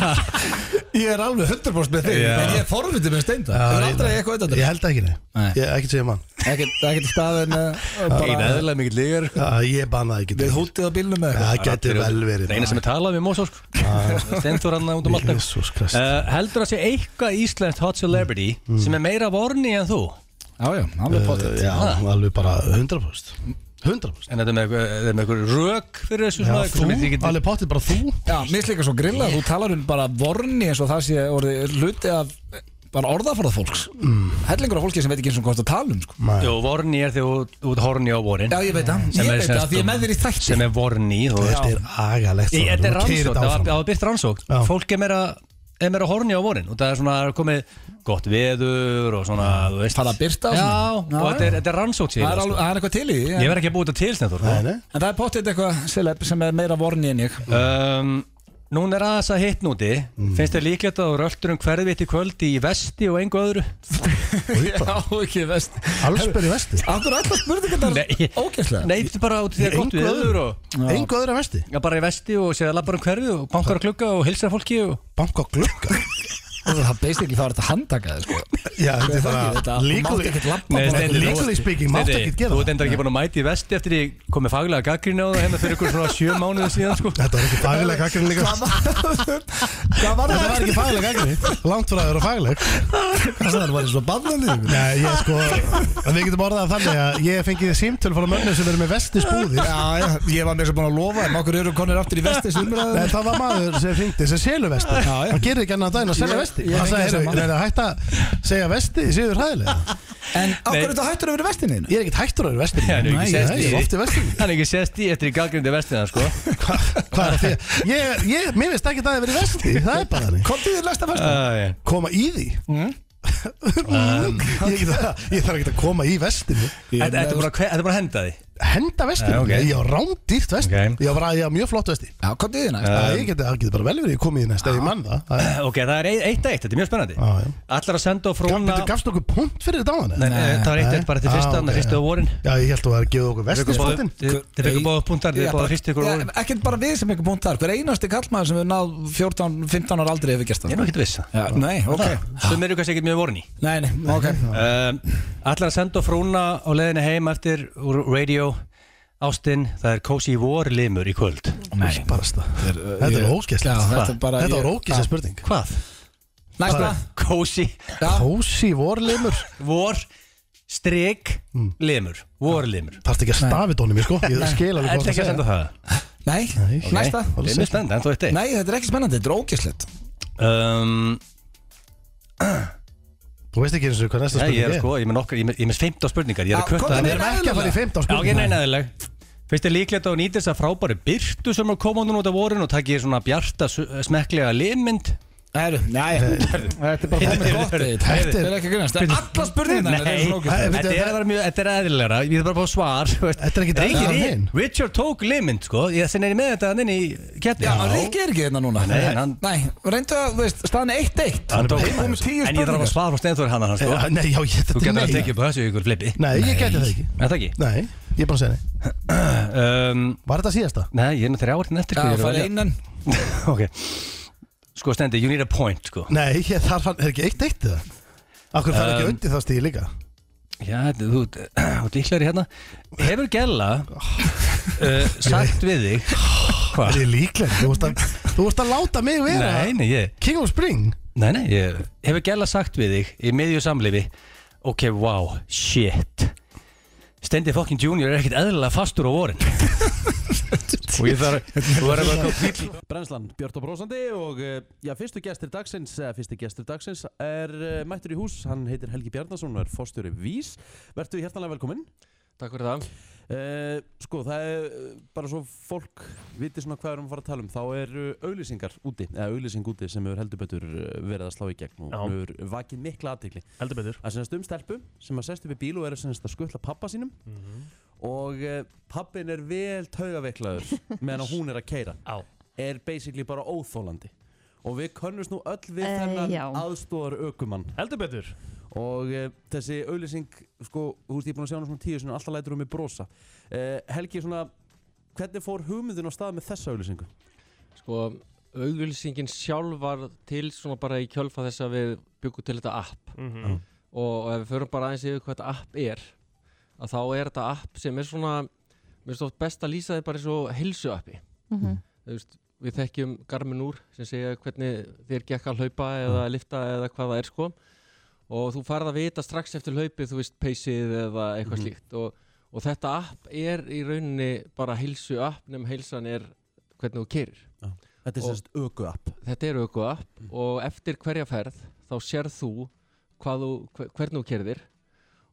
Ég er alveg 100% með þig Já. En ég er Eh. forvitið með steinda Já, Það er ég- aldrei eitthvað auðvendur Ég held ekki nei, Nei. ég ekki segja mann Ekkert staðin Einn eðla mikill lígar Já, Ég banna ekki Við hútið á bílnum með Það gæti vel verið Það eina sem er talað við Mósó Steindór hann út um allt eitthvað. Jesus Christ. Eh, Heldur að sé eitthvað íslenskt hot celebrity Mm. sem er meira vorni en þú? Já, já, alveg potið Eh, Já, alveg bara 100% 100% En þetta er með eitthvað- þetta er með eitthvað rök fyrir þessu Já, svona þú, eitthvað sem þið getur- alveg pottið bara þú Já, mér slikar svo grilla, þú talar um bara vorni eins og það sé orðið hluti af bara orðaforða fólks mm. Hellingur af fólki sem veit ekki eins og hvað það tala um sko. Jó, vorni er þegar út, út horni á vorin Já, ég veit það, Sem ég er veit sem það, því ég er sagt- með þér í þætti sem er vorni þú veist. Þetta er agalegt Í- Þetta er Þú keyrir rannsókn, þetta það var- áfram. það var byrst rannsókn Já. Fólk er meira, er meira horni á vorin og það er svona það er komið gott veður og svona, þú veist Fara að birta á Já, svona. Já, og þetta er, já. þetta er Það rannsókn sér er, alveg, sko. það er eitthvað til í Ég en, verð ekki að búið þetta til snettur Nei, nei en það er potið eitthvað celeb sem er meira vorni en ég um, Núna er aðeins að hitt núti Finnst þér líklegt að þú röltur um hverfitt í kvöldi í vesti og engu öðru? Já, ekki vest Allsberg í vesti Akkur alltaf spurningar Nei. þetta ógæslega Nei, þetta er bara út því að gott Engu veður öðru og Engu öðru að vesti Já, bara í vesti og segja labbar um hverfið og bankar á klukka og hilsar fólki og... Banka á glugga Það er basically þá er þetta handtakaði sko. Já, þetta er Þú bara mátt Legally ekkert labba Nei, bara- Steindi, þú legally varst- speaking Máttu Steindi, ekki Þú gera ert það endur ekki búin að mæti í vesti eftir því komið faglega gaggrinni á það hérna fyrir ykkur svona sjö mánuði síðan sko Þetta var ekki sko. fagileg kakkarinn líka Hvað var Þetta það? var ekki fagileg kakkarinn Langt frá að vera fagileg Það var svo bannanlið Nei, ég sko en Við getum orðað það þannig að ég fengið símtöl frá mönnum sem eru með vesti spúði Já, já, ég var með þess að búin að lofa þeim Okkur eru konir aftur í vestis umræðu Nei, það var maður sem hringdi sem selur vesti Já, já. Hann gerir ekki annað daginn að selja Ég- vesti ég Hann fengi þessa sagði, heyrðu, mann. er það hægt að segja vesti í síður hræðilega? En okkur þetta hættur að vera vestinni Ég er ekkert hættur að vera vesti Já, hann er ekki Nei, sest ég í- er svo oft í vesti Hann er ekki sést í eftir í gaggrinni vestina sko Hvað er það? Ég, ég, mér veist ekki að það er verið vesti Það er bara þannig Kom til þér næsta Mm. fæst Æ, Koma í því ég, get að, ég þarf ekki að koma í vestinu Þetta þetta er bara hve- þetta er bara að henda því Henda vestinu, Já, ok. ég á rándýrt vesti Ok. Um, Ég á bara, ég á mjög flott vesti Já, kom til þér næsta Það ég geti, það geti bara vel verið, ég komið í næst Ef ég mann það Það er- Ok, það er eitt að eitt, þetta er mjög spennandi Já, Ah, já. Allar að senda og Gaf- fróna Bíddu, Gafstu okkur punkt fyrir þetta á hann? Nei, nei, það var eitt Nei. eitt bara til Ah, fyrsta, ok, þannig að fyrstu á já. vorin Já, ég held að það er að gefa okkur Þið fengu vestinspottin báðir- þið- þið fengu báða punktar, þið báða fyrstu ykkur á vorin Ekkert bara við sem ekki búntar Hver einasti kallmaður sem við náð 14-15 ára aldrei hefur gert Ég það er nú ekkert viss Já, Nei, ok Sum eru kannski ekkert mjög vorin í Nei, nei, ok Um, Allar að senda og fróna á leiðinni heim eftir úr radio Ástin, það er Cozy War limur í kvöld Nei. Barasta. Þetta er Já, ógæstlegt þetta er bara Þetta ég- var ógæstlegt spurning Hvað? Næsta Cozy Já. Kósi vorlimur War strik limur War limur Þarfst ekki að stafið honum, ég sko Ég skil alveg Þetta hvað ekki að senda það Nei, næsta Nei. Það er mjög stend, en þú eitt eitt Nei, þetta er ekki spennandi, þetta er ógæslegt um, Þú veist ekki eins og hvað næsta Nei, spurning ég er sko, ég er með nokkar, ég er með- ég er með 15 spurningar Ég Já, er að kötta komdu Við það með niður. erum ekki að fara í 15 Já, ok, spurning neina, neðileg Finnst þér líklegt að hún nýtir þess að frábæri byrtu sem er komandur út af vorin og takk ég svona bjarta su- smekklega limmynd Æru, nei Þetta er bara komið gott Egill. Þetta er ekki að grunast Alla spurningarna Nei, eru svona ógeðslegar. þetta er að vera mjög, þetta er eðlilegra Ég þarf bara að fá svar þú veist. Þetta er ekkit Ríkir eðlilegra í- en hin. Richard tók limit sko Ég sinni með þetta hann inn í kettin Já, Rikki er ekki hérna núna Nei, en hann- Nei, reyndu að, þú veist, staðan er 1-1 Hann tók Heim um tíu En ég þarf að spurningar svara frá Steinþór hann hann sko Já, Nei, já, ég Þú þetta getur að nei tekja upp á þessu ykkur flipi Nei, ég geti það ekki Þetta ekki Nei, ég er bara að segja nei um, Var þetta síðasta? Nei, ég er nú þrjá áriðin eftir Já, sko, ég er að fara velja- innan Ok Sko Steindi, you need a point sko Nei, ég þarf hann Er ekki eitt eitt það? Akkur fær Um, ekki undir það stíð líka Já, þú þú- þú líklar í hérna Hefur Gella uh, sagt við þig Er Hvað? ég líklega? Þú vorst að, þú vorst að láta mig vera Nei, nei, ég King of Spring Nei, nei, ég hefur gæla sagt við þig í miðju samlifi Ok, wow, shit Stendi fokkin junior er ekkert eðlilega fastur á vorin Og ég þarf Þú verður bara að koma Brennslan, Björn og Brósandi og eh, já, fyrstu gestur dagsins, eh, fyrsti gestur dagsins er eh, mættur í hús, hann heitir Helgi Bjarnason og er fórstjóri Vís. Vertu hjertanlega velkominn. Takk fyrir það Eh, sko það er eh, bara svo fólk viti svona hvað við erum að fara að tala um þá eru auglýsingar úti eða auglýsing úti sem hefur heldur betur eh, verið að slá í gegn og Já. hefur vakið mikla aðtikli Heldur betur að semast um stelpu sem að sest upp í bíl og er semast að skuttla pappa sínum Mhm. og eh, pappin er vel taugaveiklaður meðan að hún er að keira Á er basically bara óþólandi og við könnumst nú öll við Eh, þennan já. aðstóðar aukumann Heldur betur og e, þessi auðlýsing sko, þú veist ég er búin að sjá hana svona tíu sinni alltaf lætur hún mig brosa e, Helgi svona hvernig fór hugmyndin á stað með þessa auðlýsingu? Sko, auðvilsingin sjálf var til svona bara í kjölfa þess að við byggum til þetta app Mhm. og, og ef við förum bara aðeins yfir hvað þetta app er að þá er þetta app sem er svona mér finnst oft best að lýsa þið bara eins og heilsu appi mm Mhm. við þekkjum Garmin úr sem segja hvernig þér gekk að hlaupa eða lifta eða hvað það er sko og þú farð að vita strax eftir hlaupið þú veist peysið eða eitthvað Mhm. slíkt og, og þetta app er í rauninni bara heilsu app nema heilsan er hvernig þú kerir Þetta er Og- sérst auku app þetta er auku app og eftir hverja ferð þá sér þú, hvað þú hver- hvernig þú kerðir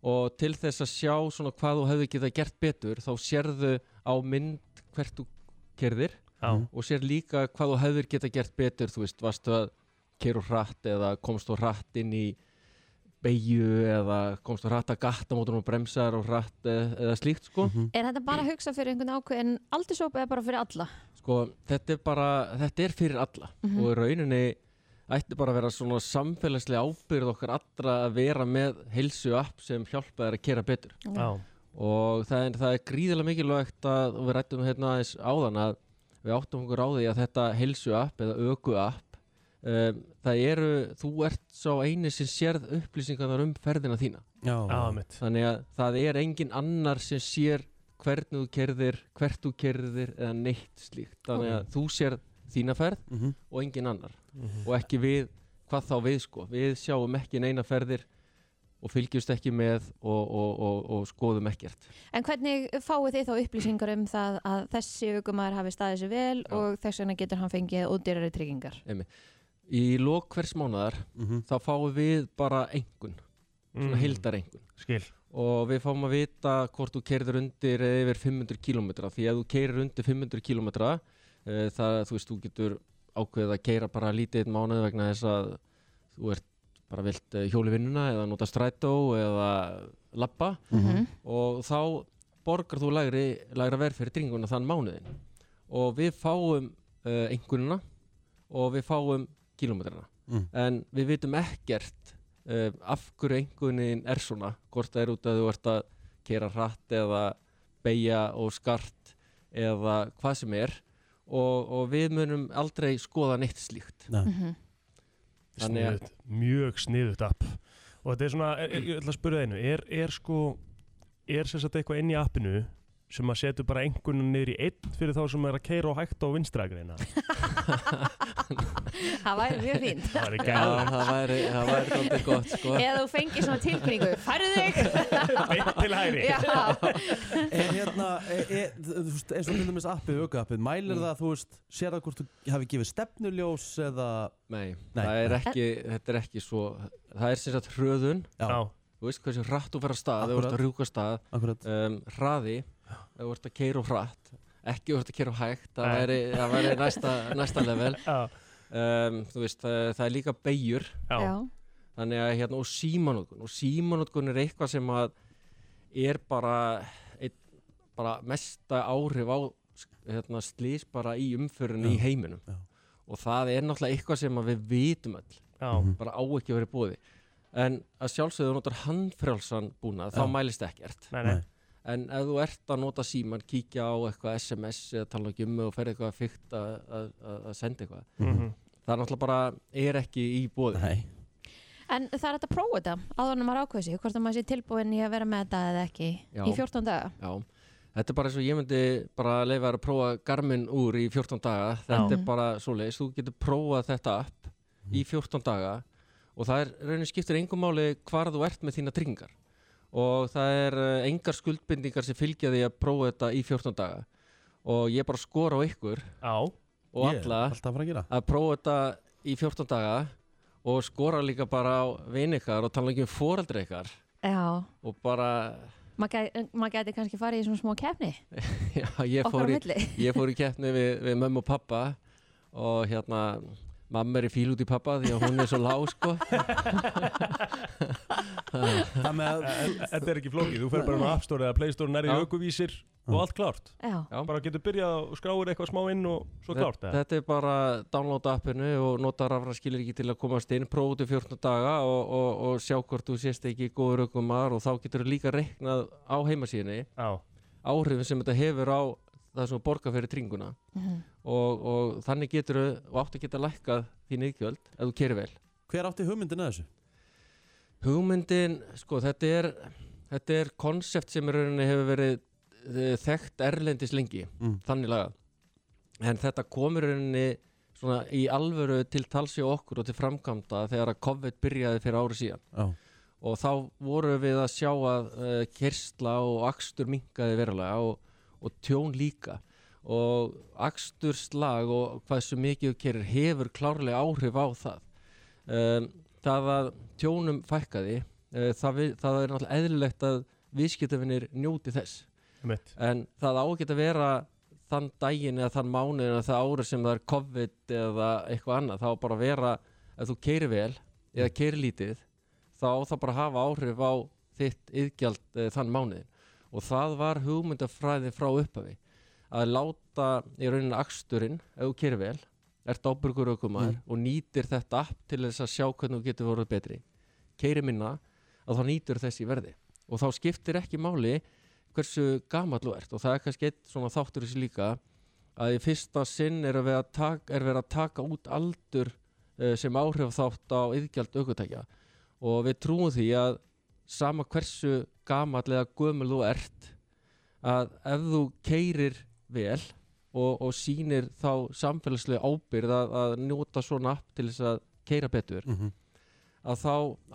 og til þess að sjá svona hvað þú hefði getað gert betur þá sérðu á mynd hvert þú kerðir Á og sér líka hvað þú hefðir getað gert betur þú veist, varstu að keiru hratt eða komst þú hratt inn í beigju eða komst þú hratt að gatta mótum og bremsar og hratt eða, eða slíkt sko Er þetta bara að hugsa fyrir einhvern ákveðin aldursópa eða bara fyrir alla? Sko, þetta er bara, þetta er fyrir alla Mhm. og í rauninni ætti bara að vera svona samfélagslega ábyrð okkar allra að vera með heilsu app sem hjálpa þær að kera betur Á og það er, það er gríðilega mikilvægt að og við rættum hérna aðeins áðan að við áttum okkur á því að þetta heilsu app eða öku app um, það eru, þú ert sá eini sem sérð upplýsingarnar um ferðina þína Já, Á mitt þannig að það er engin annar sem sér hvernig þú kerðir, hvert þú kerðir eða neitt slíkt þannig að þú sér þína ferð Mhm. og engin annar og ekki við, hvað þá við sko við sjáum ekki neina ferðir og fylgjumst ekki með og, og, og, og skoðum ekkert En hvernig fáið þið þá upplýsingar um það að þessi aukumæður hafi staðið sér vel Já. og þess vegna getur hann fengið ódýrari tryggingar? í lok hvers mánaðar mhm. þá fáum við bara engun, svona Mm. heildar engun Skil og við fáum að vita hvort þú keirir undir eða yfir 500 km því að þú keirir undir 500 km uh, það, þú veist, þú getur ákveðið að keira bara lítið einn mánuð vegna þess að þú ert bara vilt eh, hjóla í vinnuna eða nota strætó eða lappa Mhm. og þá borgar þú lægri, lægra verð fyrir dringuna þann mánuðin og við fáum uh, engununa og við fáum kilometrana Mm. en við vitum ekkert uh, af hverju engunin er svona hvort það er út að þú ert að kera hratt eða beigja og skart eða hvað sem er og, og við munum aldrei skoða neitt slíkt Nei. Mhm. Þannig að- Sniðugt, mjög sniðugt app og þetta er svona, er, er, ég ætla að spyrja það einu er, er sko, er sem sagt eitthvað inn í appinu sem að setja bara einhvern niður í einn fyrir þá sem er að keira og hægt á vinstrægreina Það væri mjög fínt. það er Já, gæðan það væri, það væri dálítið gott sko. Eða þú fengir svona tilkningu, færðu þig! beint til hægri Já, Er hérna, er, er, þú veist, eins og til dæmis appið, auku appið Mm. mælir það, þú veist, sér það hvort þú hafi gefið stefnuljós eða Nei, Nei. það er ekki, þetta er ekki svo það er sem sagt hröðun Já, þú veist hversu hratt þú fer að stað þegar þú ert að rjúka af stað akkurat um, hraði ef þú ert að keira og hratt ekki ef þú ert að keira og hægt það Nei. væri, það væri næsta, næsta level já, um, þú veist það, það er líka beigjur já, já. þannig að hérna og símanótkun og símanótkun er eitthvað sem að er bara, eitt, bara mesta áhrif á hérna, slís bara í umförinu í heiminum Já. og það er náttúrulega eitthvað sem að við vitum öll Mhm. já, Mhm. bara á ekki að vera búið en að sjálfsögðu þú notar handfrjálsan búnað þá Já. mælist ekkert nei, nei, en ef þú ert að nota síman kíkja á eitthvað SMS eða tala ekki um og ferði eitthvað að fyrta að, að, að senda eitthvað mhm, það er náttúrulega bara, er ekki í bóði Nei, En það er hægt að prófa þetta áður en maður ákveði sig, hvort að maður sé tilbúin í að vera með þetta eða ekki Já. í 14 daga. Já, þetta er bara eins og ég myndi bara leifa þér að prófa Garmin úr í 14 daga þetta Mhm. Já. er bara svoleiðis, þú getur prófað þetta app í 14 daga og það er raunin skiptir engum máli hvar þú ert með þína tryggingar og það er eh, engar skuldbindingar sem fylgja því að prófa þetta í 14 daga og ég bara skora á ykkur já og ég er alla Alltaf að fara að gera að prófa þetta í 14 daga og skora líka bara á vin ykkar og tala ekki um foreldri ykkar Já, og bara maður gæti, mað gæti kannski farið í svona smá kefni Já, ég okkar á fór í, milli ég fór í keppni við, við mömmu og pappa og hérna mamma er í fíl út í pappa því að hún er svo lág sko Þannig að Þetta er ekki flókið, þú fer bara á App Store eða Play Store nærri Já. aukuvísir og allt klárt Já, Bara getur byrjað og skráir eitthvað smá inn og svo klárt Þetta- eða? Þetta er bara að downloada appinu og nota rafra skilriki til að komast inn, prófa til 14 daga og, og, og sjá hvort þú sést ekki góður aukumar um og þá getur þú líka reiknað á heimasíðinni Já, áhrifin sem þetta hefur á það sem þú borgar fyrir tringuna Mhm. og, og þannig getur þú og átt að geta lækkað þín yðgjöld ef þú kerir vel. hver átti hugmyndin að þessu? Hugmyndin, sko þetta er þetta er konsept sem í rauninni hefur verið eh, þekkt erlendis lengi, Mm. þannig lagað en þetta komur rauninni svona í alvöru til talsi okkur og til framkvæmda þegar að COVID byrjaði fyrir ári síðan Já. og þá voru við að sjá að uh, kersla og akstur minkaði verulega og, og tjón líka og aksturslag og hversu mikið þú kerir hefur klárlega áhrif á það um, það að tjónum fækkaði uh, það, við, það er náttúrulega eðlilegt að viðskiptafinir njóti þess mitt en það á ekki að vera þann daginn eða þann mánuðin eða það ára sem það er COVID eða eitthvað annað það á bara að vera ef þú keiri vel eða keiri lítið þá á það bara að hafa áhrif á þitt yðgjald e, þann mánuðin og það var hugmyndafræði frá upphafi að láta í rauninni aksturinn ef þú keiri vel ert ábyrgur aukumar og nýtir þetta app til þess að sjá hvernig þú getur voruð betri keiri minna að þá nýtur þess í verði og þá skiptir ekki máli hversu gamall þú ert og það er kannski eitt svona þáttur þessi líka að í fyrsta sinn er verið að taka, er verið að taka út aldur eh, sem áhrif þátt á yðgjald aukutækja og við trúum því að sama hversu gamall eða gömul þú ert að ef þú keirir vel og, og sýnir þá samfélagslega ábyrð að, að njóta svona app til þess að keira betur að þá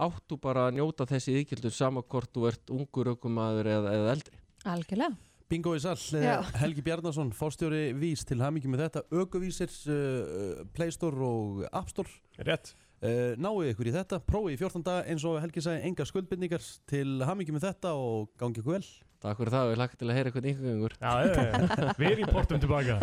áttu bara að njóta þessi yðgjöldur sama hvort þú ert ungur aukumaður eða, eða eldri algjörlega Bingo í sall, eh, Já. Helgi Bjarnason, fórstjóri Vís til hamingjum með þetta, aukuvísir, uh, Play Store og App Store Rétt Uh, náuð ykkur í þetta, prófið í 14 daga eins og Helgi sagði, enga skuldbindningar til hamingjum með þetta og gangi ykkur vel Takk fyrir það og ég lakka til að heyra hvernig ykkur gengur Já, já, já. við erum í portum tilbaka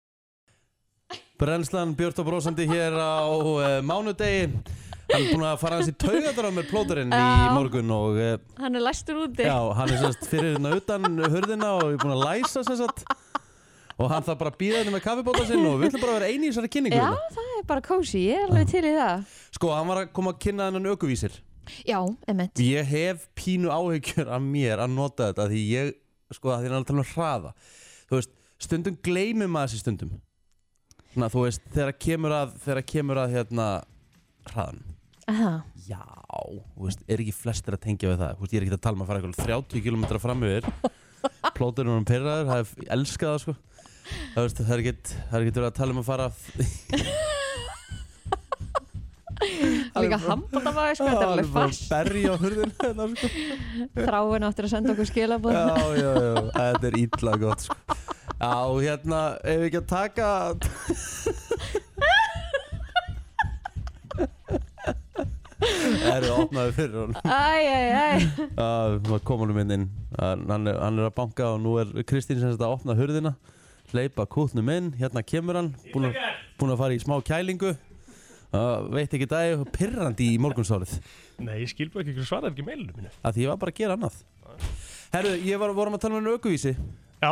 Brennslan Björn og Brósandi hér á uh, mánudegi Hann er búin að fara hans í taugatar á mér plóturinn í Já. morgun og uh, Hann er læstur úti já, hann er sérst fyrir hérna utan hurðina og er búin að læsa sérst og hann þarf bara að býða henni með kaffibóta sinn og við ætlum bara að vera eini í þessari kynningu Já, hérna. það er bara kósi, ég er alveg til í það Sko, hann var að koma að kynna hennan aukuvísir Já, emitt Ég hef pínu áhyggjur af mér að nota þetta því ég, sko, að því hann er að tala um hraða Þú veist, stundum gleymir maður þessi stundum Svona, þú veist, þegar kemur að, þegar kemur að, hérna, hraðan Já, þú veist, er ekki flestir að tengja við það Þú veist, ég er ekki að tala um að fara eitthvað 30 km fram yfir Plóturinn um pyrraður, það er elskað það, sko Það veist, það er ekkert, það er ekkert verið að tala um að fara Líka handbóndabæði, sko, þetta er alveg bara fast berri á hurðinu hérna, sko Þráin áttur að senda okkur skilabóð já, já, já, þetta er illa gott sko. Já, hérna, ef við ekki að taka Erum við opnaði fyrir hún Æ, æ, æ Það kom honum um hérna inn inn Hann hann er, hann er að banka og nú er Kristín sem sagt að opna hurðina Hleypa kútnum inn, hérna kemur hann Búin að, búin að fara í smá kælingu Uh, veit ekki dag, pirrandi í morgunsárið Nei, ég skil bara ekki, hverju svaraði ekki meilinu mínu að því ég var bara að gera annað Herru, ég var, vorum að tala með einu aukuvísi Já,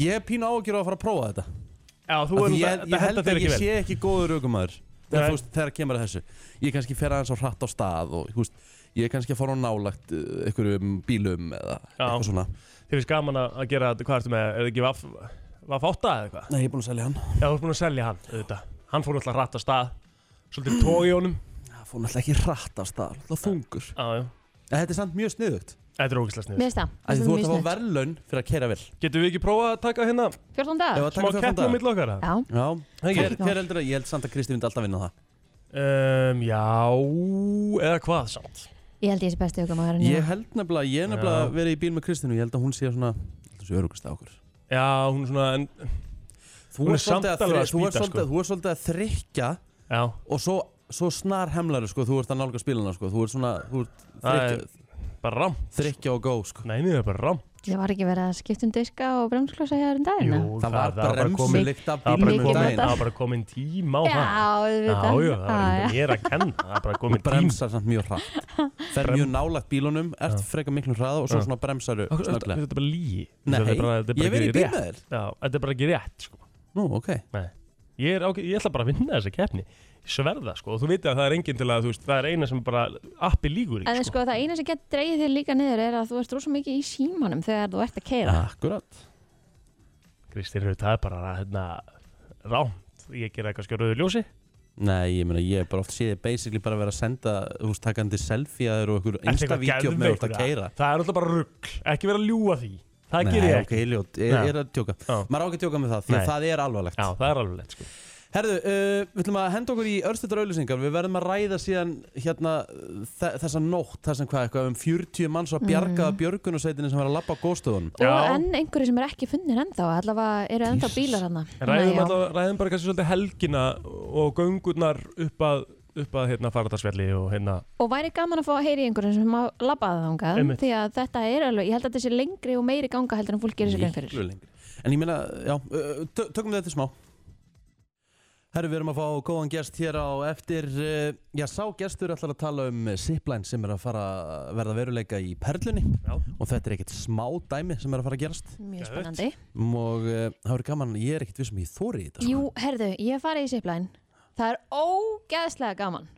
Ég hef pínu ágjör á að fara að prófa þetta já, þú Af erum því ég, þetta ég held henda að þér ég ekki vel sé ekki góður aukumæður Nei. þegar, þú veist, þegar kemur að þessu ég kannski fer aðeins á hratt á stað og þú veist, ég er kannski að fara á nálagt uh, einhverjum bílum eða Já. eitthvað svona Þið finnst gaman að að gera, hvað ertu með, er það ekki vaff Vaff átta eða eitthvað? Nei, ég er búin að selja hann Já, þú ert búin að selja hann, auðvitað Hann fór alltaf hratt af stað Svolítið tói í honum Það fór náttúrulega ekki hratt á stað, náttúrulega þungur Já, já En þetta er samt mjög sniðugt Þetta er ógislega snið Mér finnst það, Af því það Þú ert er mjög að fá snitt verðlaun fyrir að keira vel 14 við ekki prófað að taka hérna 14 Ef dagur að taka smá fyrir keppni á fjórtán dag milli okkar eða? Já, Já, hver, ekki mál. hver heldur að ég held samt að Kristi myndi alltaf vinna það um, Já, eða hvað samt ég held ég sé besti okkur maður Ég held nefnilega, ég hef nefnilega Já. verið í bíl með Kristinu Ég held að hún sé svona, þessu örugust á okkur Já, hún er svona, en, Þú Hún er ert svolítið samt að alveg að þri- þú ert spýta, sko. svolítið- þú ert svolítið að þrykja já og svo, svo snar hemlaru sko, þú ert að nálga spilana sko, þú ert svona þú ert Það þreytt bara rám Þrykkja og gó sko Nei, nei, það er bara rám Ég var ekki verið að skipta um diska og bremsklossa hér um dagina Það var bremsi komið líkt af Það var bílnum um bara mikið komin, daginn notað. það var bara komin tíma á Já, það Já, við veitum já, það var ekki mér að kenna Það var bara komin tíma Bremsar samt mjög hratt Fer mjög nálægt bílunum Ert frekar miklum hraða og svo Já. svona bremsaru Þetta þetta snögglega er bara lígi Nei, Þetta er bara- þetta er bara ég verið í ekki bíl með rétt. þér Já, þetta er bara ekki rétt sko. Nú, ok ég, er, ágæ- ég ætla bara að vinna þessa keppni Sverða sko, og þú veitir að það er enginn til að þú veist, Það er eina sem bara appi lígur En í sko. sko það eina sem getur dreigið þér líka niður er að þú ert rosa mikið í símanum þegar þú ert að keira Ah, Akkurat Kristýr Rutt, það er bara hérna, rámt Ég gera eitthvað skjóruðu ljósi Nei, ég meina, ég er bara oft séð þig basically bara að vera að senda, þú veist, takandi selfie að þér og einhver Ertu eitthvað insta-vídeó með þú geðveikur, ert að keira Það er alltaf bara rugg, ekki vera að ljúa því Það gerir ég ok, ekki ég ljót, ég Já. ég er að tjóka Já. Maður á ekki að tjóka með það, því Nei. að það er alvarlegt Já, það er alveg lett sko. Herðu, uh, við ætlum að henda okkur í örstutur auðlýsingar Við verðum að ræða síðan hérna þe þessa nótt, þess að hvað eitthvað um 40 manns að bjargaða mm. björgunarsveitinu sem var að labba á góðstöðunum Og Já. enn einhverju sem er ekki funnir ennþá allavega eru ennþá bílar hann Ræðum, alltaf, ræðum bara kannski svolítið helgina og göngurnar upp að, upp að hérna, faradarsvelli og hérna Og væri gaman að fá að heyri einhverjum sem hafa labbaði þangað Einmitt. því að þetta er alveg, ég held að þetta sé lengri og meiri ganga heldur en fólk gerir sér grein fyrir Miklu lengri. En ég meina, já, uh, tö- tökum þetta smá Herru, við erum að fá góðan gest hér á eftir uh, Já, sá gestur ætlar að tala um Zipline sem er að fara að verða að veruleika í Perlunni Já. og þetta er ekkert smá dæmi sem er að fara að gerast Mjög Geðveikt. spennandi Mm, og uh, það verður gaman, ég er ekkert vissum ég þóri í þetta sko. Jú, herðu, ég hef farið í siplæn Það er ógeðslega gaman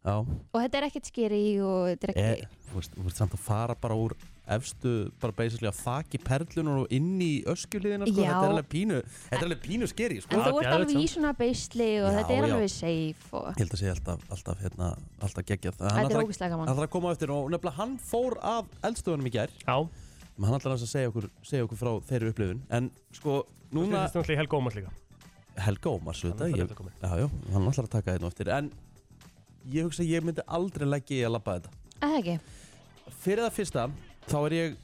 Já, og þetta er ekkert skeri og þetta er e, Eh, ekki þú veist, þú veist samt að fara bara úr efstu, bara basically að þaki Perlunar og inn í öskjuliðina sko. Já. þetta er alveg pínu, þetta er alveg pínu skeri sko. En þú Já, ert geðveikt alveg í svona beisli og Já, þetta er já. alveg safe og Ég held að sé alltaf, alltaf, hérna, alltaf geggjað Hann þetta ætlar er að- ógeðslega Það gaman þarf að koma á eftir og nefnilega hann fór af eldstöðunum í gær Já, Hann ætlar aðeins að segja okkur, segja okkur frá þeirri upplifun En sko, þetta núna er náttúrulega í Helga Ómars líka Helga Ómars Hann auðvitað er ég, þetta komin. já, já, Hann ætlar að taka þetta nú eftir En ég hugsa að ég myndi aldrei leggja í að labba þetta Eða ekki, Fyrir það fyrsta, þá er ég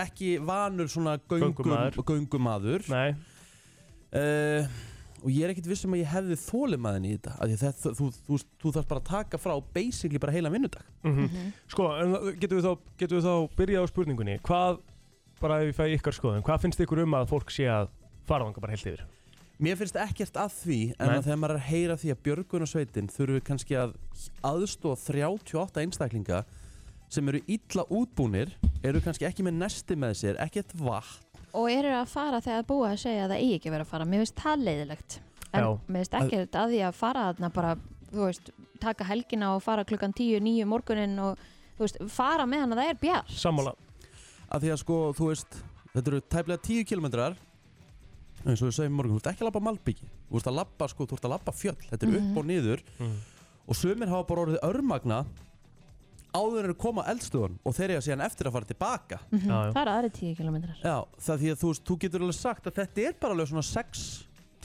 ekki vanur svona göngum, Göngumaður. göngumaður. Nei, Uh, og ég er ekkit viss um að ég hefði þólimaðin í þetta af því að þetta, þú, þú, þú, þú þarfst bara að taka frá basically bara heila vinnudag Sko, en getum við þá, getum við þá byrjað á spurningunni Hvað, bara ef ég fæ ykkar skoðun Hvað finnst ykkur um að fólk sé að fara þangað bara heilt yfir? Mér finnst ekkert að því en Nei. að þegar maður er að heyra því að björgunarsveitin þurfum við kannski að aðstóða 38 einstaklinga sem eru illa útbúnir eru kannski ekki með nesti með sér, ekkert vatn og eru að fara þegar búa að segja að það eigi ekki verið að fara mér finnst það leiðilegt en Já. mér finnst ekkert að því að fara þarna bara, þú veist, taka helgina og fara klukkan 10, 9 morgunin og þú veist, fara meðan að það er bjar Sammála af því að sko, þú veist, þetta eru tæplega 10 kilometrar eins og við segjum í morgun, þú ert ekki að labba malbyggi þú ert að labba, sko, þú ert að labba fjöll þetta er upp og niður Mhm. og sumir hafa bara orðið örmagna áður en þeir koma að eldstöðun og þeir eiga síðan eftir að fara tilbaka Já, já. það eru aðri 10 kilometrar Já, það því að þú veist, þú getur alveg sagt að þetta er bara alveg svona 6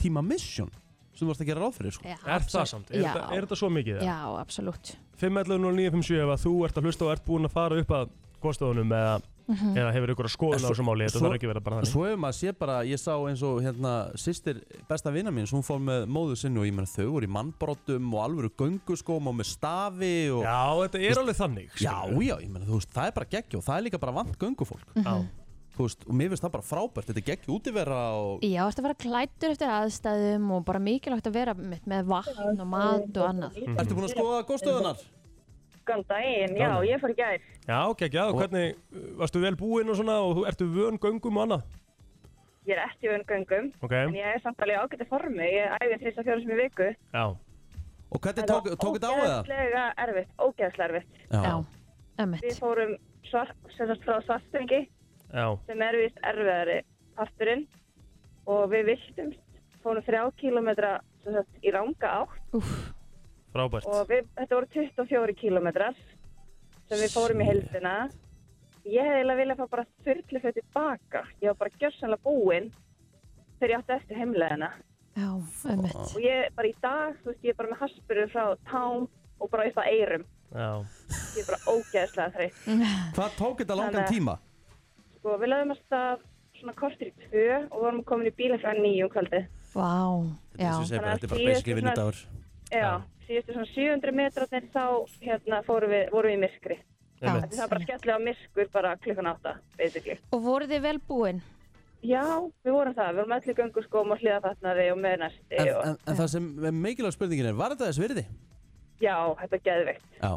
tíma mission sem þú varst að gera ráð fyrir, sko. Já, Er það absolutt. samt? Er, Já. þetta, er þetta svo mikið? eða? Já, absolutt 511 og 957 ef að þú ert að hlusta og ert búin að fara upp að góðstofunum eða, Mhm. eða hefur ykkur að skoðun á Svo- þessu máli Þetta svo- þarf ekki að vera bara þannig Svo hefur maður sé bara, ég sá eins og hérna, sýstir besta vina mín, hún fór með móðu sinni og ég meina þau voru í mannbrotum og alvöru gönguskóm og með stafi og... Já, þetta er alveg þannig sko. Já, skilurðu. já, ég meina, þú veist, það er bara geggju og það er líka bara vant göngufólk, Mhm. Já. þú veist, og mér finnst það bara frábært, þetta er geggju útivera og... Já, ertu að fara klættur eftir aðstæðum og bara mikilvægt að vera með, með vatn og mat og annað Mhm. Ertu búin að skoða góðstöðunar? Góðan daginn, já, Góðan daginn. ég fór í gær. Já, ok, já, og hvernig, uh, varstu vel búinn og svona og þú ertu vön göngum og annað? Ég er ekki vön göngum, Ok, en ég er samt alveg í ágættu formi. Ég æfi þess að fjóra sem í viku. já, Og hvernig tók, tók þetta á það? Ógeðslega erfitt, ógeðslega erfitt. Já, Við ömmett fórum svart, sem sagt frá svartfengi, já, sem er vist erfiðari parturinn, og við viltumst, fórum þrjá kílometra sem sagt, í ranga átt, frábært og við, þetta voru 24 kílometrar sem við fórum í heldina. Ég hefði eiginlega viljað fá bara þurrlu fyrir tilbaka. Ég var bara gjörsanlega búinn þegar ég átti eftir heimleðina. Já, ömmett og ég bara í dag, þú veist, ég er bara með haspuru frá tám og bara upp að eyrum Já, ég er bara ógeðslega þreytt Hvað tók þetta langan Þannig- tíma? sko, við lögum að stað svona kortir í tvö og vorum komin í bílinn frá um nýjum kvöldi Vá, já Eins og ég segi bara, Þetta er Þannig bara að basically síðustu vinnudagur. já, síðustu svona 700 metrarnir þá hérna fórum við, vorum við í myrkri Já. Af því Það er bara skellið á myrkur bara klukkan átta, basically. Og voruð þið vel búin? Já, við vorum það, við vorum öll í gönguskóm og hliðafatnari og með næsti En, og en, en það sem er mikilvæg spurningin er, var þetta þess virði? já, þetta er geðveikt. Já.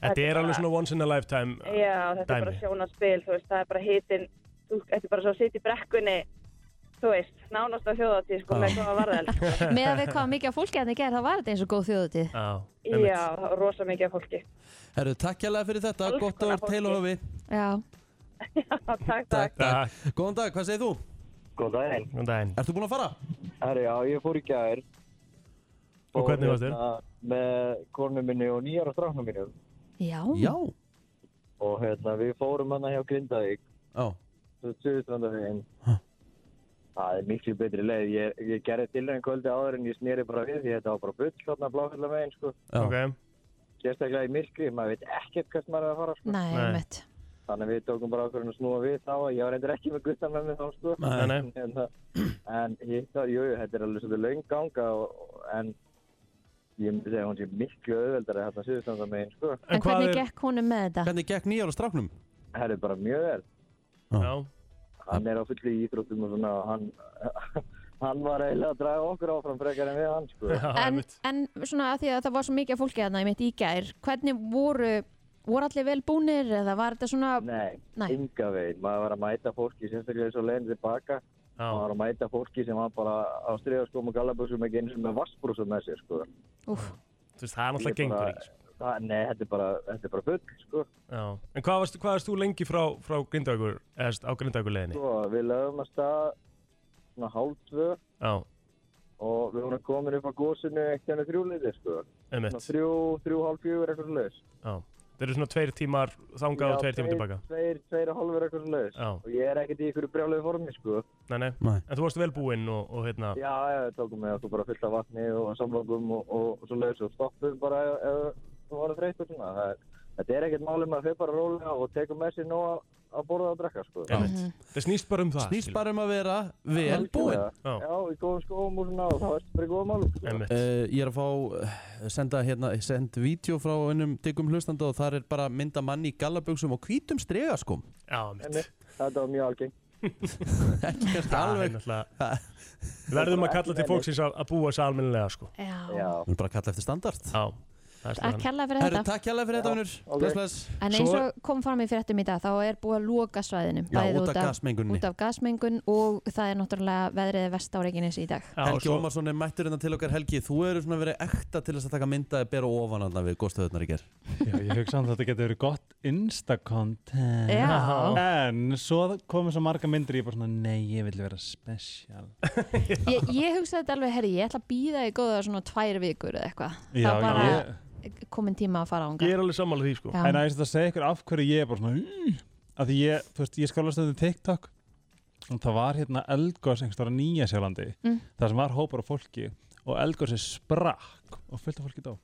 Þetta er alveg svona once in a lifetime uh, Já, þetta er bara Dæmi. sjónaspil, þú veist, það er bara hitin, þú, þetta er bara svo að sitja í brekkunni, þú veist, nánast á þjóðatíð, sko, Já. með hvað var það? Með að við hvað mikið af fólki að þið gerð, þá var þetta eins og góð þjóðutíð. Já, Já, það var rosa mikið af fólki. Herru, takk hérlega fyrir þetta, Alls gott konar og teil og höfi. Já. takk, takk. Takk, takk. Góðan dag, hvað segir þú? Góðan daginn. um daginn Ertu búin að fara? Herri, já, ég fór í gær. Og hvernig varst þér? hérna, Með konu minni og nýjar og stráknum mínum. Já. Já. Og hérna, við fórum hana hjá Grindavík, Já. Suðustrandaveginn. Það er miklu betri leið. Ég, ég gerði til þeim kvöldi áður en ég snýri bara við því þetta var bara bull hérna bláfjallameginn, sko. Já. ok Sérstaklega í myrkri, maður veit ekkert hvert maður er að fara, sko. Nei, Nei. mitt. Þannig að við tókum bara okkur að snúa við þá. Ég var reyndar ekki með gutta með mig þá, sko. Nei, nei. En, en hitt að, jú, jú, þetta er alveg svolítið löng ganga og, og- en ég myndi segja að hún sé miklu auðveldari hérna síðustönda megin, sko. En hvað hvernig er- gekk honum með þetta? Hvernig gekk nýjára stráknum? Það er bara mjög vel. Já, Hann er á fullu í íþróttum og svona og hann, hann var eiginlega að draga okkur áfram frekar en við hann, sko. já, En, einmitt. en svona að því að það var svo mikið af fólki að það mitt í gær, hvernig voru, voru allir vel búnir eða var þetta svona, Nei, Nei. ynga veginn. Maður var að mæta fólki, sérstaklega svo leiðin tilbaka. Já. Maður var að mæta fólki sem var bara á stríðaskóm og gallabúsum ekki eins og með vassbrúsum með sér, sko. úf, Þú veist, það er Ég náttúrulega gengur ekki sko. það, Nei, þetta er bara, þetta er bara full, sko. Já. En hvað varst, hvað varst þú lengi frá, frá grindagur, eða þú veist, á grindaugurleginni? Svo, Sko, við lögum að stað svona hálf tvö Já, og við vorum komin upp á gósinu eitt henni þrjúleiti, sko. Svona einmitt þrjú, þrjú, hálf fjögur, eitthvað slags. Já. Það eru svona tveir tímar þangað og tveir tímar tilbaka Tveir, tveir og hálfur, eitthvað slags. Já. Og ég er ekkert í ykkur brjálegu formi, sko. Nei, nei, Nei. en þú varst vel búinn og, og hérna Já, já, við tókum með okkur bara fullt af vatni og samlangum og, og, og svo leiðis og stoppum bara ef- ef þú voru þreytt og svona. Það, er- þetta er ekkert málum að þau bara rólega og tekum með sér nóg að- að borða og drekka, sko. einmitt. Það snýst bara um það Snýst skilur. bara um að vera vel búinn. Já, í góðum skóum og svona og það varst bara í góðum málum. sko. Einmitt, Uh, ég er að fá uh, senda hérna, send vídeo frá einum diggum hlustanda og þar er bara mynda manni í gallabugsum og hvítum stregaskum já, einmitt Einmitt. Þetta var mjög algengt. ekki kannski Það er alveg náttúrulega Verðum að kalla til fólksins að, að búa sér almennilega sko já, Já. við erum bara að kalla eftir standart Já, það er að slæðan kella fyrir Herru, þetta. takk hérlega fyrir þetta, vinnur ok. Bless, bless En eins Svo- og kom fram í fréttum í dag, þá er búið að loka svæðinu, Já, út af gasmengunni út af gasmengun og það er náttúrulega veðrið vest á Reykjanes í dag. Helgi Ómarsson er mættur hérna til okkar Helgi Þú eru svona verið ekta til þess að taka myndaði bera ofan allan við góðstöðunar í ger Já, ég hugsa um að þetta getur verið gott Insta-content Já. En svo komu svo marga myndir Ég bara svona, nei, ég vil vera special Ég, ég hugsaði þetta alveg, herri, ég ætla að býða í góða svona tvær vikur eða eitthvað. Já, það var ég, bara komin tíma að fara ánga. Ég er alveg sammála því sko Já. En að ég að segja ykkur af hverju ég er bara svona mm, að því ég, þú veist, ég skála stöðum TikTok og það var hérna eldgós einhvers stóra nýja sjálandi Mm. það sem var hópar af fólki og eldgósi sprakk og fullt af fólki dó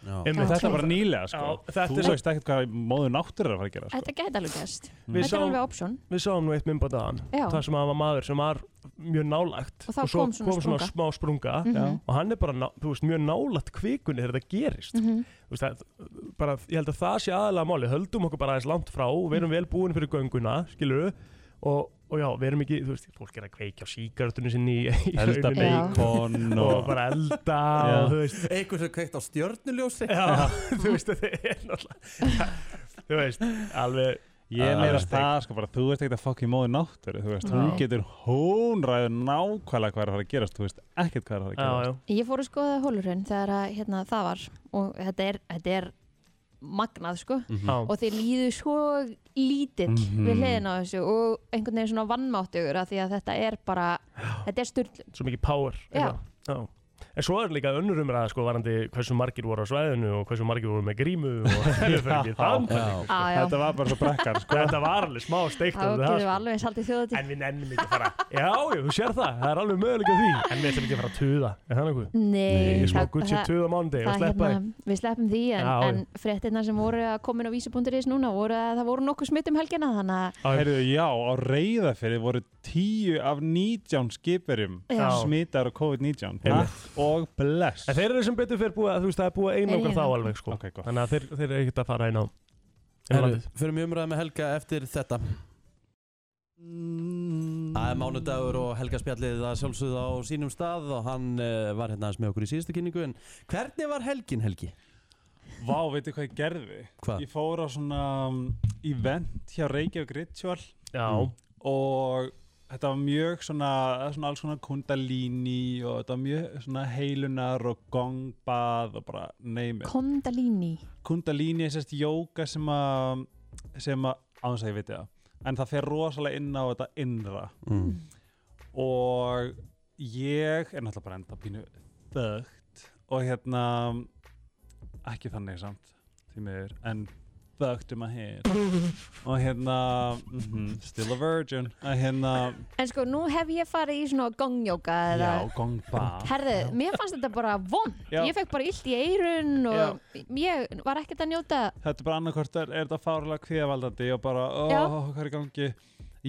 Já. Einmitt. og þetta var nýlega sko Já, þetta þú er- veist ekkert hvað móður náttur er að fara að gera sko. Þetta gæti alveg gæst. Við Þetta er sáum- alveg option. Við sáum nú eitt mynd bara dagann Já. Það sem að var maður sem var mjög nálægt Og þá svo kom svona sprunga. Mhm. smá sprunga Já. Og hann er bara, ná- þú veist, mjög nálægt kvikunni þegar þetta gerist Mhm. Þú veist, það, bara, Ég held að það sé aðalega máli Höldum okkur bara aðeins langt frá Mhm. Verum vel búin fyrir gönguna, skilur og, og já, verum ekki, þú veist, fólk er að kveikja á síkartunni sinni í, í elda rauninni Já. beikon Og og bara elda Já. og, þú veist, Einhver sem kveikt á stjörnuljósi já, þú veist, þetta er náttúrulega Þú veist, alveg ég er meira Alveg það sko bara þú veist ekkert að fokki móður náttur þú veist, hún Nei. getur hún ræður nákvæmlega hvað er að fara að gerast þú veist ekkert hvað er að fara að Já, gerast já, Ég fór að skoða hólurinn þegar að, hérna, það var og þetta er, þetta er magnað sko já og þeir líðu svo lítill Mhm. við hliðin á þessu og einhvern veginn svona vannmáttugur af því að þetta er bara, þetta er styrlun svo mikið power Já. eitthvað. Já. En svo er líka önnur umræða sko varandi hversu margir voru á svæðinu og hversu margir voru með grímu og það var ekki það. Já. ah, já, þetta var bara svo brekkar sko. sko. Þetta var alveg smá steikt þá um getum það við sko. alveg saldið þjóðatíð En við nennum ekki að fara. Já, já, þú sér það, það er alveg möguleika því. En við ætlum ekki að fara að tuða, er það nokkuð? Nei, Ég smá það, Gucci það, tuða mándi og það sleppa hérna, þið. við sleppum því en, Já, já. en fréttina sem voru að komin á vísi.is núna voru að það voru nokkuð smitt um helgina þannig að Heyrðu, já, á reyðafyrir voru tíu af 19 skipurum Já. smittar á COVID-19 Einmitt. Patt og bless En þeir eru sem betur fyrir búið að þú veist það er búið að Þeir einangra eru þá einangra. alveg sko. Ok, gott. Þannig að þeir, þeir eru ekkert að fara einn á Herru, Fyrir mjög umræði með Helga eftir þetta Það er mánudagur og Helga spjallið að sjálfsögða á sínum stað og hann uh, var hérna aðeins með okkur í síðustu kynningu en hvernig var helgin Helgi? Vá, veitu hvað ég gerði? Hvað? Ég fór á svona um, event hjá Reykjavík Ritual Já. Og þetta var mjög svona, svona alls svona kundalíni og þetta var mjög svona heilunar og gongbað og bara neymi Kondalíni Kundalíni er sérst jóka sem að sem að, áðans að ég veit það en það fer rosalega inn á þetta innra Mm. og ég er náttúrulega bara enda pínu þögt og hérna ekki þannig samt því miður, en þögt um að hér og hérna mm still a virgin að hérna, En sko, nú hef ég farið í svona gongjóka eða... já, gongba Herðu, mér fannst þetta bara von Já. Ég fekk bara illt í eirun og ég var ekkert að njóta þetta er bara annarkvort er, er þetta fárlega kvíðavaldandi og bara, ó, Já. hvað er í gangi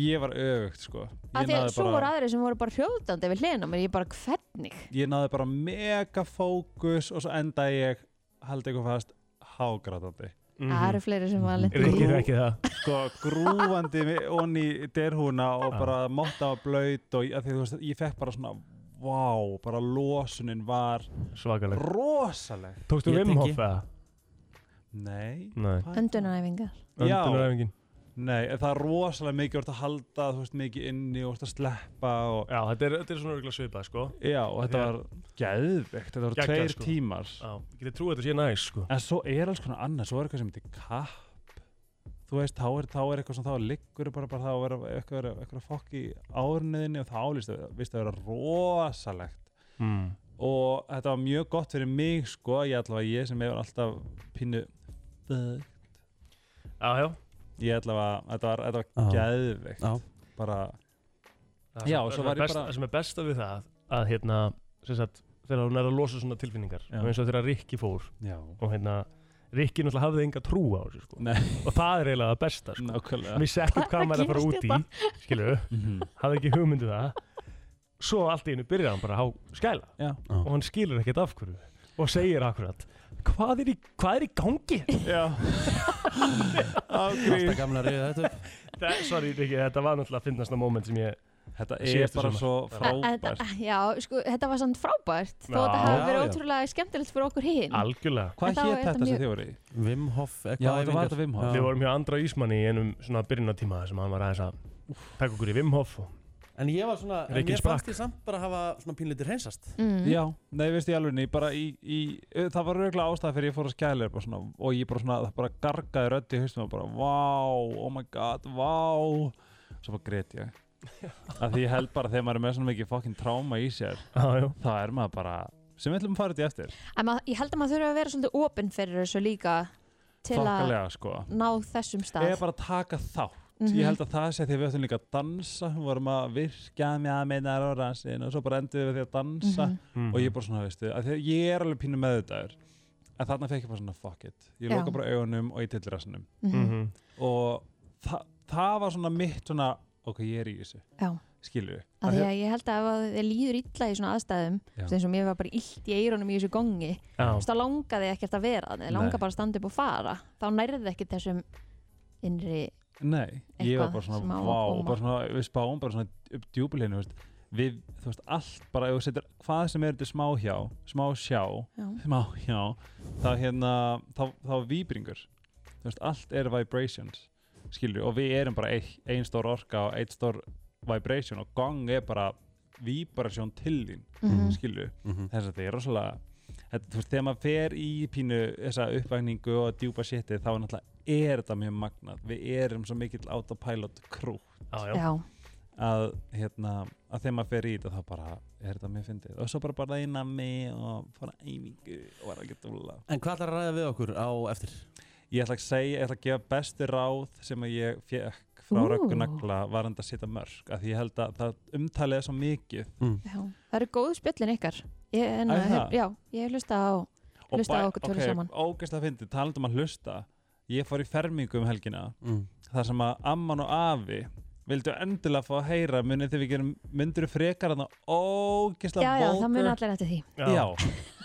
ég var öfugt, sko að ég því að náði svo bara, voru aðrir sem voru bara hrjóðdandi við hliðina mér, ég bara hvernig ég náði bara mega fókus og svo endaði ég haldið ykkur fast hágrátandi Mhm. Það eru fleiri sem var lent í Grú- því. sko, grúandi mi- onni í derhúna og Já. bara motta og blaut og að því þú veist, ég fekk bara svona vá, bara losunin var svakaleg rosaleg Tókstu Ég Wim Hof tengi. eða? Nei, Nei. Hvað? Öndunaræfingar Já. Öndunaræfingin. Nei, en það er rosalega mikið úr að halda, þú veist, mikið inni og úr að sleppa og Já, þetta er, þetta er svona örgulega svipað sko Já, og þetta var geðveikt, þetta voru Geggjað, tveir sko. tímar Já, ég geti trúið að þetta sé næs sko En svo er alls konar annað, svo er eitthvað sem heitir kapp Þú veist, þá er, þá er eitthvað sem þá liggur bara, bara þá er eitthvað, eitthvað, eitthvað fokk í árniðinni og þá líst það víst að vera rosalegt Mm. og þetta var mjög gott fyrir mig sko, ég allavega ég sem hefur alltaf pínu Já, já Ég allavega, þetta var, þetta Já. var geðveikt Já. bara Það Já, sem- og svo það var ég best- bara- Það sem er besta við það að hérna sem sagt, þegar hún er að losa svona tilfinningar Já. og eins og þegar Rikki fór Já. og hérna Rikki náttúrulega hafði enga trú á þessu sko. og það er eiginlega það besta sko. Nákvæmlega. Mhm. Vissi ekkert Hvað hvað er maður er að fara að út gerast í skilu, hafði ekki hugmyndu það svo allt í einu byrjar hann bara að há skæla Já. og hann skilur ekkert af hverju og segir akkurat hvað er í, hvað er í gangi? Já Alltaf gamla reyða þetta upp Það, sorry, Rikki, þetta var náttúrulega að finnast að moment sem ég Þetta er bara svo Þetta- Já, sko, þetta var samt frábært þó Já, þetta hafi já, verið já. ótrúlega skemmtilegt fyrir okkur hinn Algjörlega Hvað Þetta hét var- þetta þetta sem mjög- þið voru í? Vim Hof eitthvað Já, þetta var æfingar. þetta Vim Hof Já. Við vorum hjá Andra Ísmanni í einum svona byrjunartíma sem hann var aðeins að taka okkur í Vim Hof En ég var svona, en Reykjavík mér fannst sprakk. ég samt bara að hafa svona pínleitir hreinsast Mm. Já, nei, veist ég alveg, bara í, í, e, það var rauglega ástæða fyrir ég fór að skæla upp og svona, og ég bara svona, það bara gargaði rödd í haustum og bara, vá, oh my god, vá, svo bara grét ég. Af því ég held bara þegar maður er með svona mikið fokkin tráma í sér, ah, þá er maður bara, sem við ætlum að fara þetta í eftir, En mað, ég held að maður þurfi að vera svolítið opinn fyrir þessu líka til að fokkalega sko. ná þessum stað Eða bara taka þátt. Mhm. Ég held að það sé því að við ætlum líka að dansa, við vorum að virka með að meina á rannsinn og svo bara endum við því að dansa Mhm. og ég bara svona, veistu, að því að ég er alveg pínu meðutagur, en þarna fekk ég bara svona fuck it. Ég Já. loka bara augunum og ég til rassinum. Mhm. Og þa það var svona mitt svona, ok, ég er í þessu. Já. Skilur við. að því að ég held að ef þið líður illa í svona aðstæðum Já. eins og mér var bara illt í eirunum í þessu gongi Já. þú veist, þá langaði ekkert að vera þið Nei. langaði bara að standa upp og fara þá nærðið ekkert þessum innri Nei, ég var Eitthvað bara svona, sem á að vá, koma. bara svona, við spáum bara svona upp djúbilinu, veist, við, þú veist, allt bara, ef þú setur hvað sem er þetta smá hjá, smá sjá, Já. smá hjá, þá hérna, þá, þá er víbringur, þú veist, allt er vibrations, skilju, og við erum bara ein, ein stór orka og ein stór vibration og gong er bara vibrasjón til þín, Mhm. skilju, Mhm. þess að þetta er rosalega, þetta, þú veist, þegar maður fer í pínu þessa uppvækningu og djúpa sétið, þá er náttúrulega er þetta mjög magnað við erum svo mikill autopilot krútt Já, já. Já. að hérna að þegar maður fer í þetta þá bara er þetta mjög fyndið og svo bara bara eina mig og fara á æfingu og var ekki dúla En hvað ætlar að ræða við okkur á eftir? ég ætla að segja, ég ætla að gefa bestu ráð sem að ég fekk frá Ú. röggu nagla varandi að setja mörg af því ég held að það umtalið er svo mikið Mm. já. það eru góð spjöllin ykkar ég, en, eh, Er það? já, ég hef hlusta á hlusta á okkur tölur saman ógæst að fyndi, talandum að hlusta ég fór í fermingu um helgina Mm. þar sem að amman og afi vildu endilega fá að heyra munið þegar við gerum myndur frekar þannig ógislega Já, já, það muna allir eftir því. Já,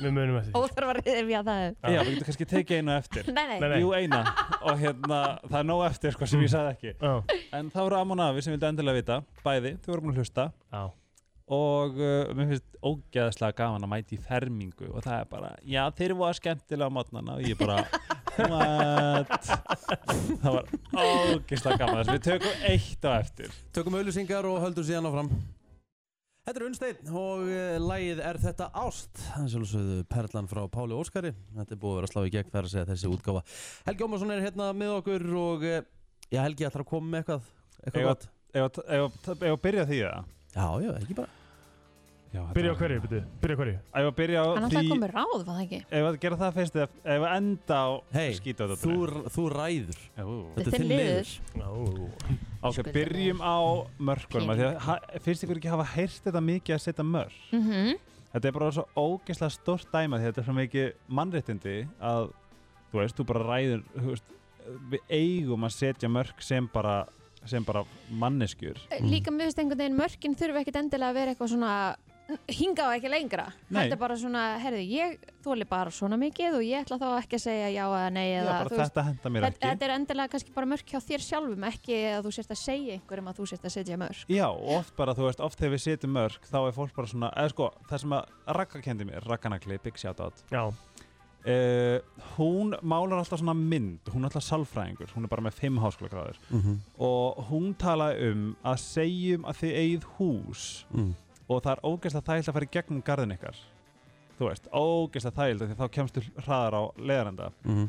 við munum eftir því. Óþarf að rifja það upp. Já, við getum kannski tekið einu eftir Nei, nei. Nei, nei. Jú, eina Og hérna, það er nóg eftir sko sem ég Mm. sagði ekki En það voru Amon Afi sem vildi endilega vita Bæði, þau voru búin að hlusta Já Og uh, mér finnst ógeðslega gaman að mæti í fermingu Og það er bara, já þeir eru voða skemmtilega á mótnana Og ég bara, what? það var ógeðslega gaman Þess, Við tökum eitt á eftir Tökum auðlýsingar og höldum síðan áfram Þetta er Unnsteinn og eh, lagið er þetta ást Það er sjálfsögðu Perlan frá Páli Óskari Þetta er búið að vera að slá í gegn þar að segja þessi útgáfa Helgi Ómarsson er hérna með okkur og eh, já, Helgi ætlar að koma með eitthvað Eitthvað gott Ef að byrja því það? Já, já, ekki bara Byrja á hverju, byrju, byrja á hverju Ef að byrja á Hann ætlaði að því koma með ráð, var það ekki? Ef að gera það fyrst eða ef að enda á hey, þú, þú ræður Þetta er þinn liður. Ok, byrjum á mörkunum af því að ha- Finnst ykkur ekki hafa heyrt þetta mikið að setja mörk? Mhm. Þetta er bara svo ógeðslega stórt dæma því þetta er svo mikið mannréttindi að þú veist, þú bara ræður þú veist, við eigum að setja mörk sem bara, sem bara manneskjur Líka mér finnst einhvern veginn mörkin þurfa ekkit endilega að vera eitthvað svona hinga á ekki lengra. Nei. Þetta er bara svona, herðu, ég þóli bara svona mikið og ég ætla þá ekki að segja já eða nei eða bara þú veist, þetta hentar mér þetta- ekki. Þetta er endilega kannski bara mörk hjá þér sjálfum, ekki að þú sért að segja einhverjum að þú sért að setja mörk. Já, og oft bara, þú veist, oft þegar við setjum mörk þá er fólk bara svona, eða sko, það sem að Ragga kendi mér, Ragganakli, Big Shoutout Já Hún málar alltaf svona mynd hún er alltaf salfræðingur, hún er bara með fimm háskóla gráður Mhm. og hún talaði um að segjum að þið eigið hús Mm. og það er ógeðslega þægild að fara í gegnum garðin ykkar þú veist, ógeðslega þægild af því þá kemstu hraðar á leðarenda Mhm.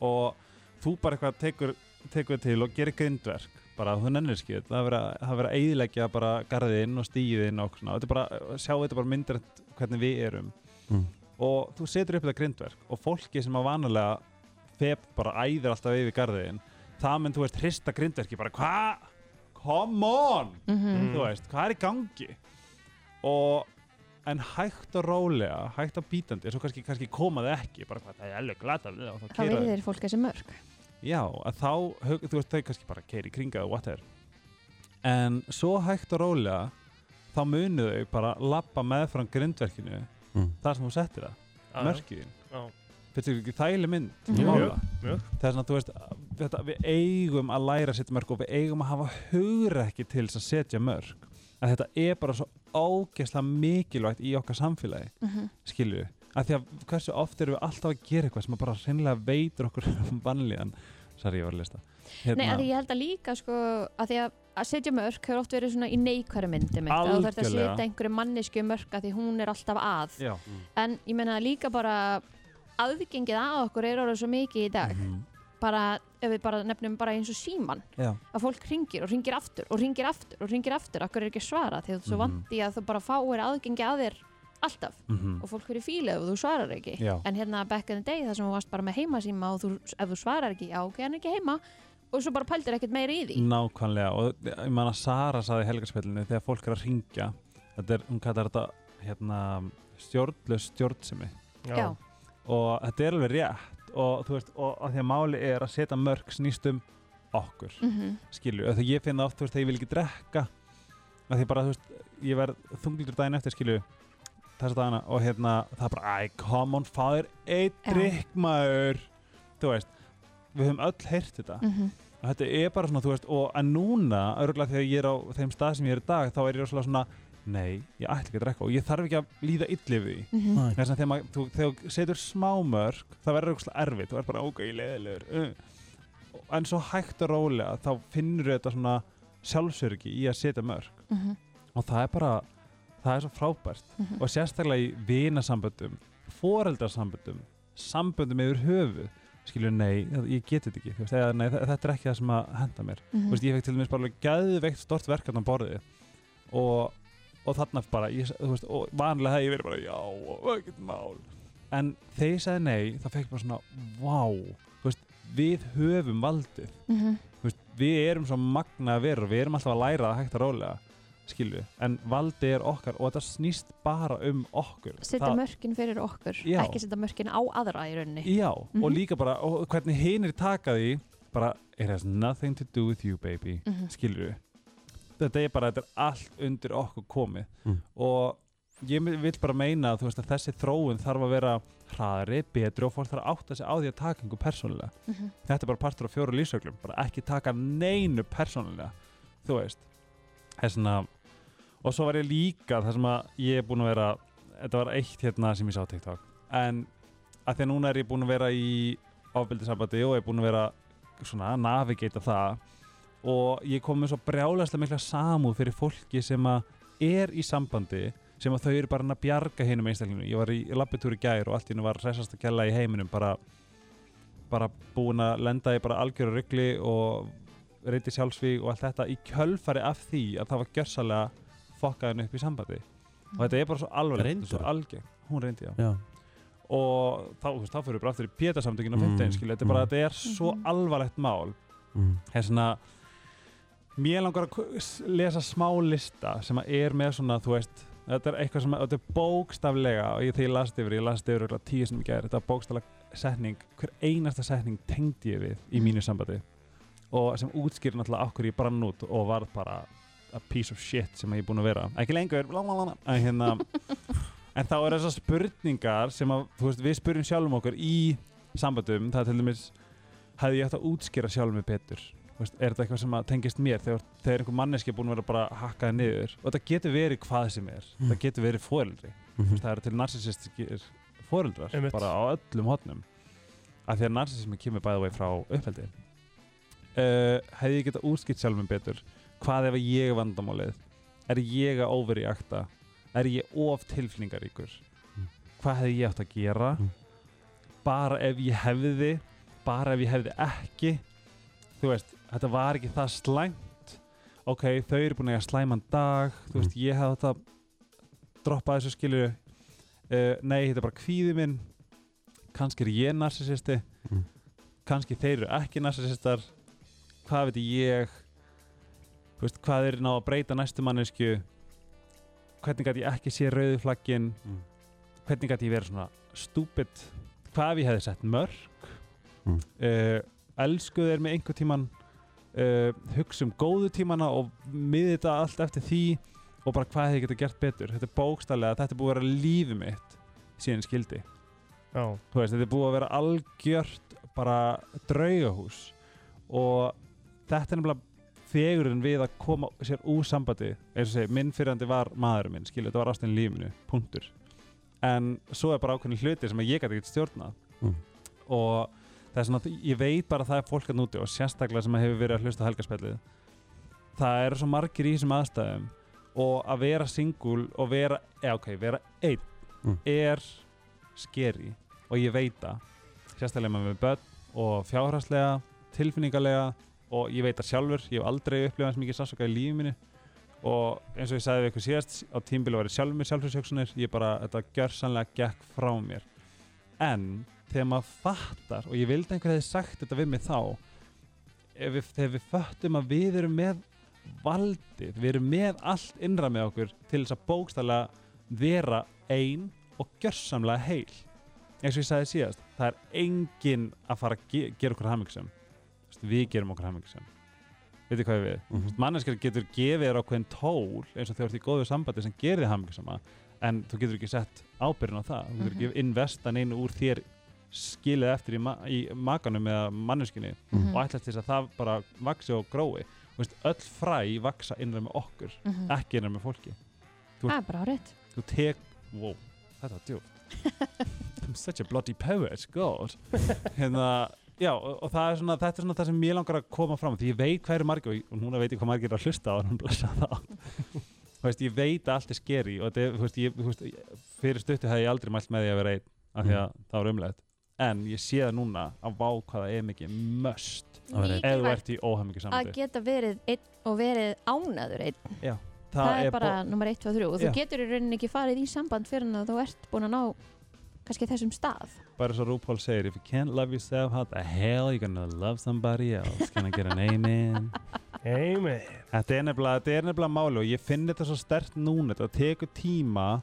og þú bara eitthvað tekur, tekur til og gerir grindverk bara þú nennir skil, það er verið að- það er verið að eiðilegja bara garðin og stíðin og svona, þetta er bara, sjá þetta bara myndir hvernig við erum Mm. og þú setur upp þetta grindverk og fólki sem að vanalega feb bara æðir alltaf yfir garðin það menn þú veist hrista grindverki bara hvað, come on Mhm. þú veist, hvað er í gangi og en hægt og rólega, hægt og bítandi svo kannski, kannski koma það ekki, bara hvað það er alveg glata við það og þá Þá keyra verður þeir þeir fólk þessi mörk. Já, að þá, hug- þú veist, þau kannski bara keiri kringa og whatever En svo hægt og rólega þá munu þau bara labba meðfram grindverkinu þar sem þú settir Já, það já. mörkiðin Já. Þetta er ekki þægileg mynd Mjög, mála. mjög. Það er svona, þú veist, þetta, við eigum að læra að setja mörg og við eigum að hafa hugrekki til þess að setja mörg að þetta er bara svo ágeðslega mikilvægt í okkar samfélagi Mhm. skilju að því að hversu oft erum við alltaf að gera eitthvað sem að bara hreinlega veitur okkur vannlíðan Sari, ég var að lista Hérna. Nei, að því ég held að líka sko, að því að, að setja mörk hefur oft verið svona í neikværu myndum að þú þarf að Algjörlega. setja einhverju mannesku mörk að því hún er alltaf að Já. en ég meina líka bara aðgengið að okkur er orðið svo mikið í dag bara, ef við bara nefnum bara eins og síman Já. að fólk ringir og ringir aftur og ringir aftur og ringir aftur, okkur er ekki svara því að þú mm Mhm. vandi að þú bara fáir aðgengi að þér alltaf Mhm. og fólk verið fílið ef þú svarar ekki Já. en hérna back in the day þar sem þú varst bara með heimasíma og þú, ef þú svarar ekki, já ok, hann er ekki heima og svo bara pældir ekkert meira í því Mm. Nákvæmlega og ég man að Sara saði í helgarspillinu þegar fólk er að ringja þetta er, hún kallar þetta hérna, stjórnlaus stjórnsemi Já. Já. og þetta er alveg rétt og þú veist, og, og því að máli er að setja mörg snýstum okkur Mhm. skilju, þegar ég finna oft, þú veist, þegar ég vil ekki drekka að því bara, þú veist, ég verð þunglítur daginn eftir, skilju þessa dagana og hérna, það er bara, æ, come on fáður, einn drikk maður þú veist, við höfum öll heyrt þetta Mhm. og þetta er bara svona, þú veist, og en núna örgulega þegar ég er á þeim stað sem ég er í dag þá er ég svona svona, nei, ég ætla ekki að drekka og ég þarf ekki að líða illi við því Mhm. Nei. þess að þegar, maður- þú, þegar þú setur smámörk það verður eitthvað erfitt, þú er bara ok, leðilegur uh. en svo hægt og rólega þá finnur þetta svona sjálfsörgi í að setja mörk Mhm. og það er bara það er svo frábært Mhm. og sérstaklega í vinasamböndum foreldarsamböndum samböndum yfir höfuð skilur nei, það- ég geti þetta ekki þú veist, eða, nei, þa- þetta er ekki það sem að henda mér Mhm. þú veist, ég fekk til dæmis bara alveg gæðveikt stort verkefni hérna á borðið og, og þarna bara, ég, þú veist, og vanlega það ég verið bara já, og ekkert mál en þegar ég sagði nei, þá fekk ég bara svona vá, þú veist, við höfum valdið Mhm. Þú veist, við erum svo magna að vera og við erum alltaf að læra það hægt að rólega skilju, en valdi er okkar og þetta snýst bara um okkur setja Það- mörkin fyrir okkur Já. ekki setja mörkin á aðra í rauninni Já, og Mhm. líka bara, og hvernig hinir taka því bara, it has nothing to do with you baby Mhm. skilju, þetta er bara, þetta er allt undir okkur komið Mm. og ég vil bara meina þú veist, að þessi þróun þarf að vera hraðari, betri og fólk þarf að átta sig á því að taka einhver persónulega Mhm. þetta er bara partur af fjóru lífsöglum bara ekki taka neinu persónulega þú veist Það er svona- og svo var ég líka það sem að ég er búin að vera þetta var eitt hérna sem ég sá á TikTok en að því að núna er ég búin að vera í ofbeldisambandi og er búin að vera svona að navigata það og ég kom með svo brjálæslega mikla samúð fyrir fólki sem að er í sambandi sem að þau eru bara að bjarga hinum einstaklinginu ég var í labbitúri gær og allt í hennu var resast að kella í heiminum bara bara búin að lenda í bara algjöru ruggli og reyti sjálfsvíg og allt þetta í kjölfari af því að það var gjörsalega fokkaðin upp í sambandi og þetta er bara svo alvarlegt Reyndirðu? og svo algeng, hún reyndi já, Já. og þá, þú veist, þá fyrir við bara aftur í pétarsamtökin á 15 mm. skilja, þetta er bara, þetta er svo alvarlegt mál Mm. það er svona mér langar að ku- s- lesa smá lista sem að er með svona, þú veist þetta er eitthvað sem, þetta er bókstaflega og ég þegar ég lasti yfir, ég lasti yfir örugglega tíu sem ég gerði, þetta er bókstaflega setning hver einasta setning tengdi ég við í mínu sambandi og sem útskýrir náttúrulega okkur ég brann út og varð bara a piece of shit sem ég er búin að vera ekki lengur, blablabla en hérna en þá er þessar spurningar sem að, þú veist, við spurjum sjálfum okkur í sambandum, það er til dæmis hefði ég ætti að útskýra sjálfum mig betur Þú veist, er þetta eitthvað sem að tengist mér þegar, þegar einhver manneski er búin að vera bara hakkaði niður og þetta getur verið hvað sem er það getur verið fóreldri mm Mhm. það eru til narsisistikir fóreldrar bara á öllum hotnum af því að narsismi kemur bæða vei frá uppheldi uh, hefði ég getað útskipt sjálf mér betur hvað ef að ég er vandamálið er ég að overreakta er ég of tilfinningaríkur hvað hefði ég átt að gera bara ef ég hefði bara ef ég hefði ekki þú veist, þetta var ekki það slæmt ok, þau eru búin að eiga slæman dag þú veist, ég hefði átt að droppa þessu skilju uh, nei, þetta er bara kvíði minn kannski er ég narsisisti kannski þeir eru ekki narsisistar hvað veit ég þú veist, hvað er ná að breyta næstu mannesku hvernig gæti ég ekki sé rauðu flaggin hvernig gæti ég verið svona stúpid hvað ef ég hefði sett mörg Mm. uh, elsku þeir með einhver tíman uh, hugsa um góðu tímana og miði þetta allt eftir því og bara hvað hefði ég geta gert betur þetta er bókstallega, þetta er búið að vera lífið mitt síðan ég skildi Já. Þú veist, þetta er búið að vera algjört bara draugahús og þetta er nefnilega fegurinn við að koma sér úr sambandi eins og segja, minn fyrrandi var maðurinn minn skilur, þetta var ástin lífinu, punktur en svo er bara ákveðin hluti sem að ég gæti ekkert stjórnað Mm. og það er svona, ég veit bara að það er fólk að núti og sérstaklega sem að hefur verið að hlusta á helgaspellið það eru svo margir í þessum aðstæðum og að vera singul og vera, eða ok, vera einn Mm. er skeri og ég veit það sérstaklega með með börn og fjárhagslega tilfinningalega og ég veit það sjálfur, ég hef aldrei upplifað eins mikið sársöka í lífi mínu og eins og ég sagði við ykkur síðast á tímbili var ég sjálfur með sjálfsöksunir ég bara, þetta gjörsanlega gekk frá mér en þegar maður fattar og ég vildi að einhver hefði sagt þetta við mig þá ef við, þegar við föttum að við erum með valdið, við erum með allt innra með okkur til þess að bókstælega vera ein og gjörsamlega heil eins og ég sagði síðast, það er enginn að fara að ge gera okkur hamingisum við gerum okkur hamingisum veitir hvað ég við, mm -hmm. manneskar getur gefið þér ákveðin tól eins og þau ert í góðu sambandi sem gerir þið hamingisama en þú getur ekki sett ábyrðin á það þú getur ekki investan einu úr þér skilið eftir í, ma í makanum eða manneskinni Mhm. og ætlast til þess að það bara vaksi og grói Þú veist, öll fræ vaksa innræð með okkur Mhm. ekki innræð með fólki Þú Það ert- er bara árétt. þú tek wow, þetta var djúpt I'm such a bloody poet, god hérna, já, og, og það er svona þetta er svona það sem mér langar að koma fram því ég veit hvað eru margir, og, ég- og núna veit ég hvað margir eru að hlusta á hann blessa það Þú veist, ég veit að allt er skeri og þetta er, þú veist, ég, þú veist, ég- fyrir stuttu hefði ég aldrei mælt með því að vera einn af því að það var umlegt en ég sé það núna að vá hvað það er mikið möst Að vera einn. eða þú ert í óhæmingu Að geta verið einn og verið ánaður einn. já, það, Það, er bara bo- nummer 1, 2, 3 og þú Já. getur í rauninni ekki farið í samband fyrir en að þú ert búin að ná kannski þessum stað. bara svo RuPaul segir if you can't love yourself how the hell you gonna love somebody else can I get an amen amen þetta er nefnilega, þetta er nefnilega máli og ég finn þetta svo stert núna þetta tekur tíma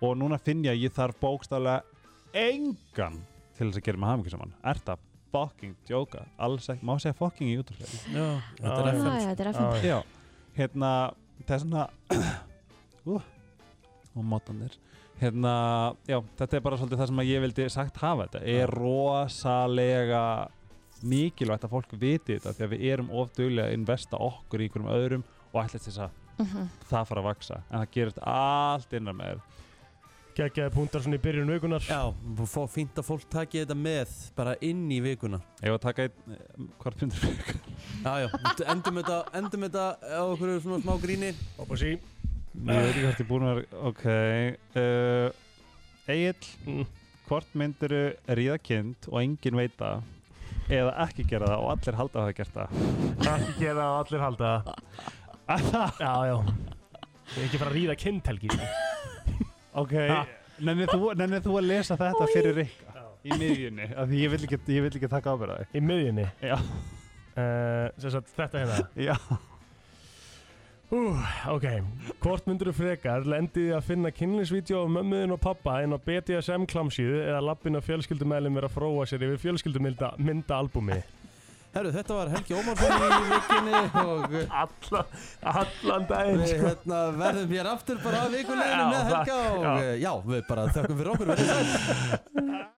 og núna finn ég að ég þarf bókstaflega engan til þess að gera mig hafingi saman er það fucking djóka alls ekki, má segja fucking í útrúlega Já, þetta er Já, FM, já, sko. þetta er FM. já, hérna það er svona uh, og mótanir hérna, já, þetta er bara svolítið það sem að ég vildi sagt hafa þetta er rosalega mikilvægt að fólk viti þetta því að við erum of duglega að investa okkur í einhverjum öðrum og ætlast þess að Mhm. það fara að vaksa en það gerist allt innan með þér Gægjaði púntar svona í byrjun vikunar Já, fó, fínt að fólk taki þetta með bara inn í vikuna Ég var að taka einn, eh, hvort myndir við Já, já, endum þetta, endum þetta á okkur svona smá gríni Hopp og sí Ég veit ekki hvort ég búin að vera, ok uh, Egil, hvort myndiru ríða kind og enginn veit það eða ekki gera það og allir halda að hafa gert það Ekki gera það og allir halda það Já, já Ég er ekki að fara að ríða kindhelgi Ok, nennið þú, nennir þú að lesa þetta fyrir Rikka í miðjunni, af því ég vil ekki, ég vil ekki taka ábyrða Í miðjunni? Já uh, Sem sagt, þetta hérna Já Ú, ok, hvort myndur þú frekar lendið þið að finna kynlýsvídeó af mömmuðin og pappa en á BDSM klamsíðu eða lappin af fjölskyldumælum er að fróa sér yfir fjölskyldumynda mynda albumi Herru, þetta var Helgi Ómarsson í vikunni og Alla, allan daginn Við sko. hérna, verðum hér aftur bara að vikuleginu Já, með Helga takk, og já. já. já, við bara þökkum fyrir okkur verið sæl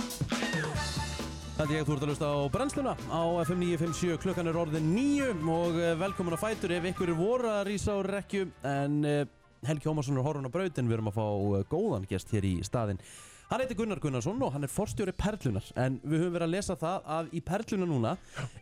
Þetta er ég, þú ert að hlusta á brennsluna á FM 957, klukkan er orðin 9 og eh, velkomin að fætur ef ykkur voru að rísa á rekju en eh, Helgi Ómarsson er horfun á brautin, við erum að fá eh, góðan gest hér í staðinn. Hann heitir Gunnar Gunnarsson og hann er forstjóri Perlunar en við höfum verið að lesa það að í Perluna núna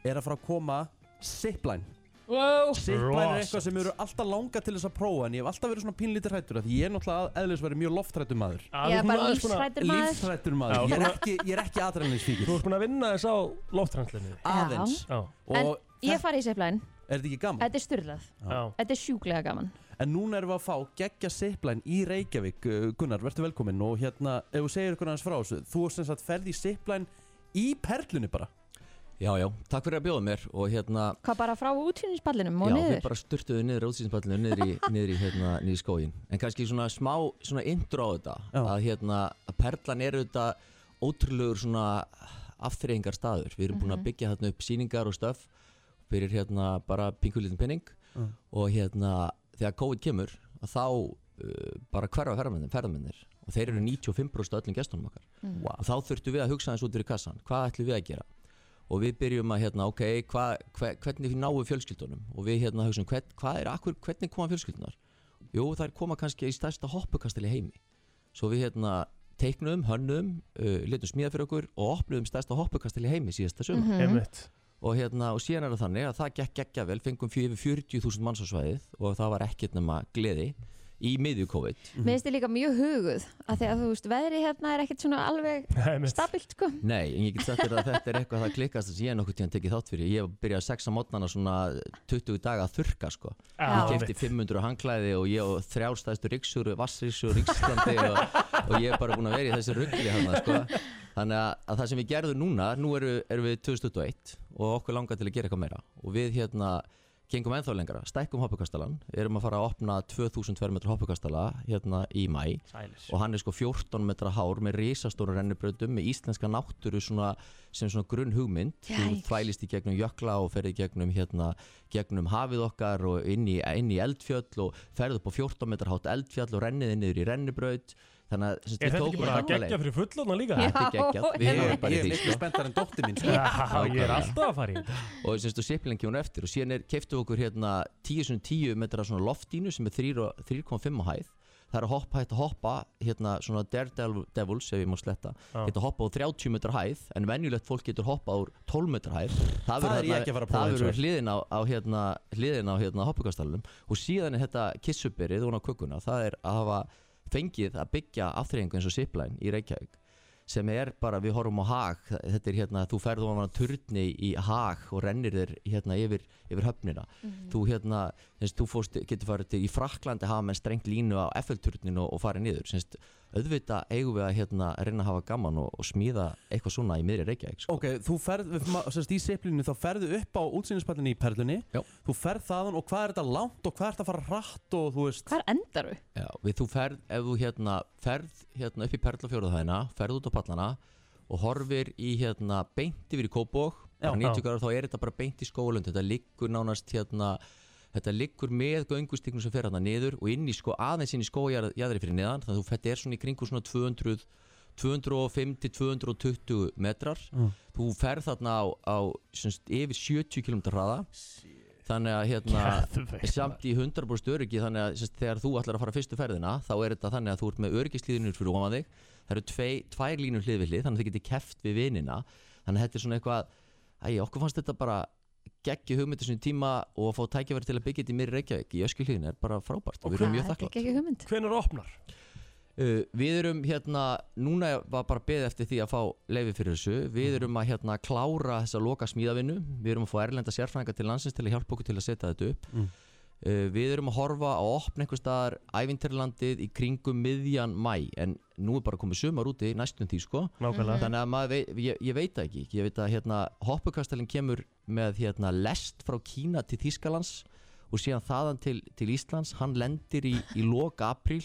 er að fara að koma zipline. Wow. Zipline er eitthvað sem eru alltaf langa til þess að prófa en ég hef alltaf verið svona pínlítir hrættur því ég er náttúrulega að eðlisverið mjög loftrættur maður. Já, Ég er þú bara ert búin að- lífshræddur maður. Lífshræddur Já, maður. Ég er svona- ekki, ég er ekki adrenalinsfíkir. Þú ert búin að vinna þess á loftrænslinu Aðeins. Já. En Og ég fari í seiflæðin, er þetta ekki gaman? þetta er styrlað Já. Þetta er sjúklega gaman En núna erum við að fá geggja zipline í Reykjavík Uh, Gunnar, verður velkominn og hérna ef þú segir ykkur hans frá þessu, þú sem sagt ferð í zipline í perlunni bara Já, já, takk fyrir að bjóða mér og hérna, Hvað bara frá útfinninspallinum já, og við niður bara styrtuðu niður útsýnspallinu, niður í, niður í, hérna, niður í skógin en kannski svona smá, svona intro á þetta að hérna, að perlan er þetta ótrúlegur svona aftreyingar staður, við erum búin Mhm. að byggja þarna upp sýningar og stöf fyrir hérna bara pingulitin penning Mm. og hérna, þegar COVID kemur að þá uh, bara hverfa ferðamennir, ferðamennir og þeir eru 95% af öllum gestunum okkar Mm. og þá þurftum við að hugsa eins út fyrir kassan hvað ætlum við að gera og við byrjum að hérna, ok, hva, hva, hvernig náum við fjölskyldunum og við hérna hugsaum, hvern, hvað er, akkur, hvernig koma fjölskyldunar jú, þær koma kannski í stærsta hoppukastali í heimi svo við hérna teiknum, hönnum, uh, letum smíða fyrir okkur og opnum stærsta hoppukastali í heimi síðasta sumar Mhm. Einmitt. og hérna, og síðan er það þannig að það gekk geggja vel, fengum fjö- yfir 40.000 manns á svæðið og það var ekkert nema gleði í miðju COVID Mér finnst þið líka mjög huguð að því að þú veist, veðri hérna er ekkert svona alveg stabilt sko Nei, en ég get sagt þér að þetta er eitthvað það klikkast sem ég nokkuð tíðan tekið þátt fyrir. Ég byrjaði að sexa mótnana svona 20 daga að þurka sko. Já. ég kefti 500 hangklæði og ég og þrjálstæðstu ríksur, vassríksur, ríkslandi og, og ég er bara búin að vera í þessi ruggli hann sko. Þannig að, að það sem við gerðum núna, nú eru, eru við 2021 og okkur langar til að gera eitthvað meira og við hérna gengum ennþá lengra, stækkum hoppukastalan, erum að fara að opna 2200 hoppukastala hérna í mæ Sælir. og hann er sko 14 metra hár með risastóru rennubröndum með íslenska náttúru svona, sem svona grunn hugmynd þú Jæks. þvælist í gegnum jökla og ferði gegnum, hérna, gegnum hafið okkar og inn í, inn í eldfjöll og ferði upp á 14 metra hátt eldfjöll og renniði niður í rennubrönd þannig að sem sagt, Er við þetta ekki tókum bara þetta alla geggja leið. fyrir fullorna líka? Þetta er geggjað, við erum bara í því sko. spenntar en dóttir mín sko. Já, ég er Nákvæmlega. alltaf að fara í þetta og semst og sipplingi hún eftir og síðan er, keiftu okkur hérna 10 sem 10 metra svona loftínu sem er 3 og- 3,5 á hæð það er að hoppa, hægt að hoppa hérna svona daredevils ef ég má sletta Já. geta hoppa á 30 metra hæð en venjulegt fólk getur hoppa á 12 metra hæð það Það verður er ég þarna- ekki að fara að prófa það eins og verður er. hliðin á, á hérna hliðin á hérna hoppukastalunum og síðan er þetta kissuberið og hún á kökuna það er að hafa fengið að byggja aftreyingu eins og zipline í Reykjavík sem er bara, við horfum á hag þetta er hérna, þú ferðu á hana turni í hag og rennir þér hérna yfir, yfir höfnina, Mhm. þú hérna þess, þú fórst, getur farið til, í Fraklandi hafa menn strengt línu á Eiffelturninu og, og farið niður, semst auðvitað eigum við að hérna, reyna að hafa gaman og, og smíða eitthvað svona í miðri Reykjavík sko. Ok, þú ferð, við- ma- sem sagt í seplinu þá ferðu upp á útsýnispallinu í Perlunni Já. Þú ferð þaðan og hvað er þetta langt og hvað er þetta að fara hratt og þú veist Hvar endar þú? Já, við þú ferð, ef þú hérna, ferð hérna upp í Perlafjóruðhæðina, ferð út á pallana og horfir í hérna beint yfir í Kópog, Já. bara 90 gráður, þá er þetta bara beint í skólund, þetta liggur nánast hérna, þetta liggur með göngustíknum sem fer hérna niður og inn í sko, aðeins inn í skójaðri fyrir neðan, þannig að þú þetta er svona í kringu svona 200, 250-220 metrar, Mm. þú ferð þarna á, á semst, yfir 70 km hraða, þannig að hérna, Geðveikt, samt í 100% öryggi þannig að sérst, þegar þú ætlar að fara fyrstu ferðina þá er þetta þannig að þú ert með öryggislíðinur fyrir ofan þig það eru tvei, tvær línur hlið við hlið þannig að þið getið keft við vinina þannig að þetta er svona eitthvað æ, okkur fannst þetta bara geggi hugmynd þessum tíma og að fá tækifæri til að byggja þetta í mér Reykjavík í öskilíðinu er bara frábært og við erum mjög þakklátt ekki hugmynd Hvenær opnar? Uh, við erum hérna, núna var bara beðið eftir því að fá leifi fyrir þessu Við erum að hérna klára þessa loka smíðavinnu Við erum að fá erlenda sérfræðinga til landsins til að hjálpa okkur til að setja þetta upp Mm. uh, Við erum að horfa á opna einhver staðar ævinterlandið í kringum miðjan mæ En nú er bara komið sumar úti næstum því sko Nákvæmlega. Þannig að maður, vei, ég, ég veit það ekki Ég veit að hérna hoppukastalinn kemur með hérna lest frá Kína til Þýskalands Og síðan þaðan til, til Íslands Hann lendir í, í loka apríl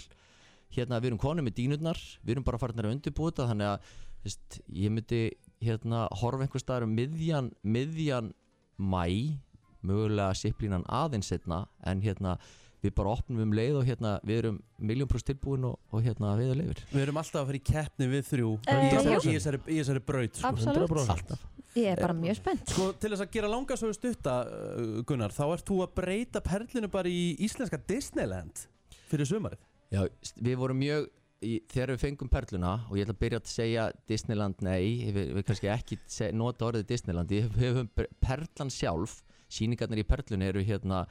hérna við erum konum með dínurnar við erum bara farin að undirbúa þetta þannig að þú veist, ég myndi hérna horfa einhvers staðar um miðjan miðjan mæ mögulega sipplínan aðeins setna en hérna við bara opnum um leið og hérna við erum miljón pluss tilbúin og, og hérna við erum leifir Við erum alltaf að fara í keppni við þrjú Eh, í, þessari, jú. í, þessari, í þessari braut sko. Absolutt. 100%. Ég er bara mjög spennt Sko, til þess að gera langa svo stutta uh, Gunnar, þá ert þú að breyta perlinu bara í íslenska Disneyland fyrir sumarið Já, st- við vorum mjög í, þegar við fengum perluna og ég ætla að byrja að segja Disneyland nei, við, við kannski ekki se, nota orðið Disneyland, við höfum per- perlan sjálf, síningarnir í perlunni eru hérna,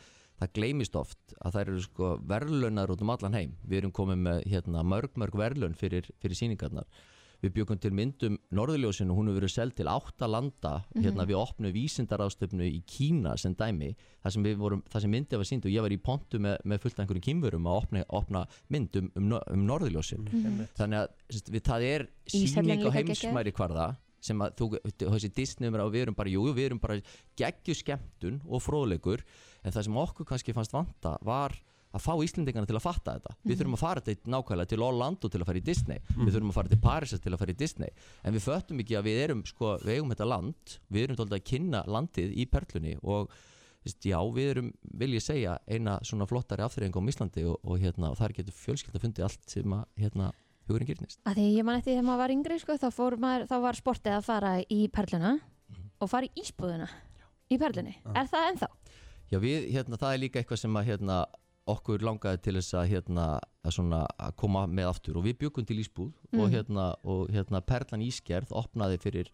það gleymist oft að þær eru sko verðlunar út um allan heim, við erum komið með hérna mörg mörg verðlun fyrir, fyrir síningarnar við bjökum til myndum Norðurljósinu, hún hefur verið seld til átta landa hérna Mhm. við opnum vísindaráðstöfnu í Kína sem dæmi, þar sem, við vorum, þar sem myndið var sínd og ég var í pontu með, með fullt af einhverjum kýmverum að opna, opna mynd um, um, no- um Norðurljósin Mhm. þannig að sérst, við, það er síning Ísafjörn á líka geggjaður. heimsmæri hvarða sem að þú, þessi Disney umræða og við erum bara, jú, jú, við erum bara geggju skemmtun og fróðleikur en það sem okkur kannski fannst vanta var að fá Íslendingarna til að fatta þetta við Mhm. þurfum að fara þetta nákvæmlega til Orlando til að fara í Disney, við þurfum að fara til Paris til að fara í Disney, en við föttum ekki að við erum sko, við eigum þetta land, við erum tólið að kynna landið í perlunni og þú veist, já, við erum, vil ég segja eina svona flottari afþreying um Íslandi og, og, hérna, og þar getur fjölskylda fundið allt sem að, hérna, hugurinn gyrnist að því ég man eftir þegar maður var yngri sko, þá, fór maður, þá var sportið að fara í perluna Mhm. og fara í ísbúðuna í perlunni, Já. er það ennþá? Já, við, hérna, það er líka eitthvað sem að, hérna, okkur langaði til þess að, hérna, að svona að koma með aftur og við byggum til Ísbúð og, Mhm. hérna, og, hérna, Perlan Ískerð opnaði fyrir,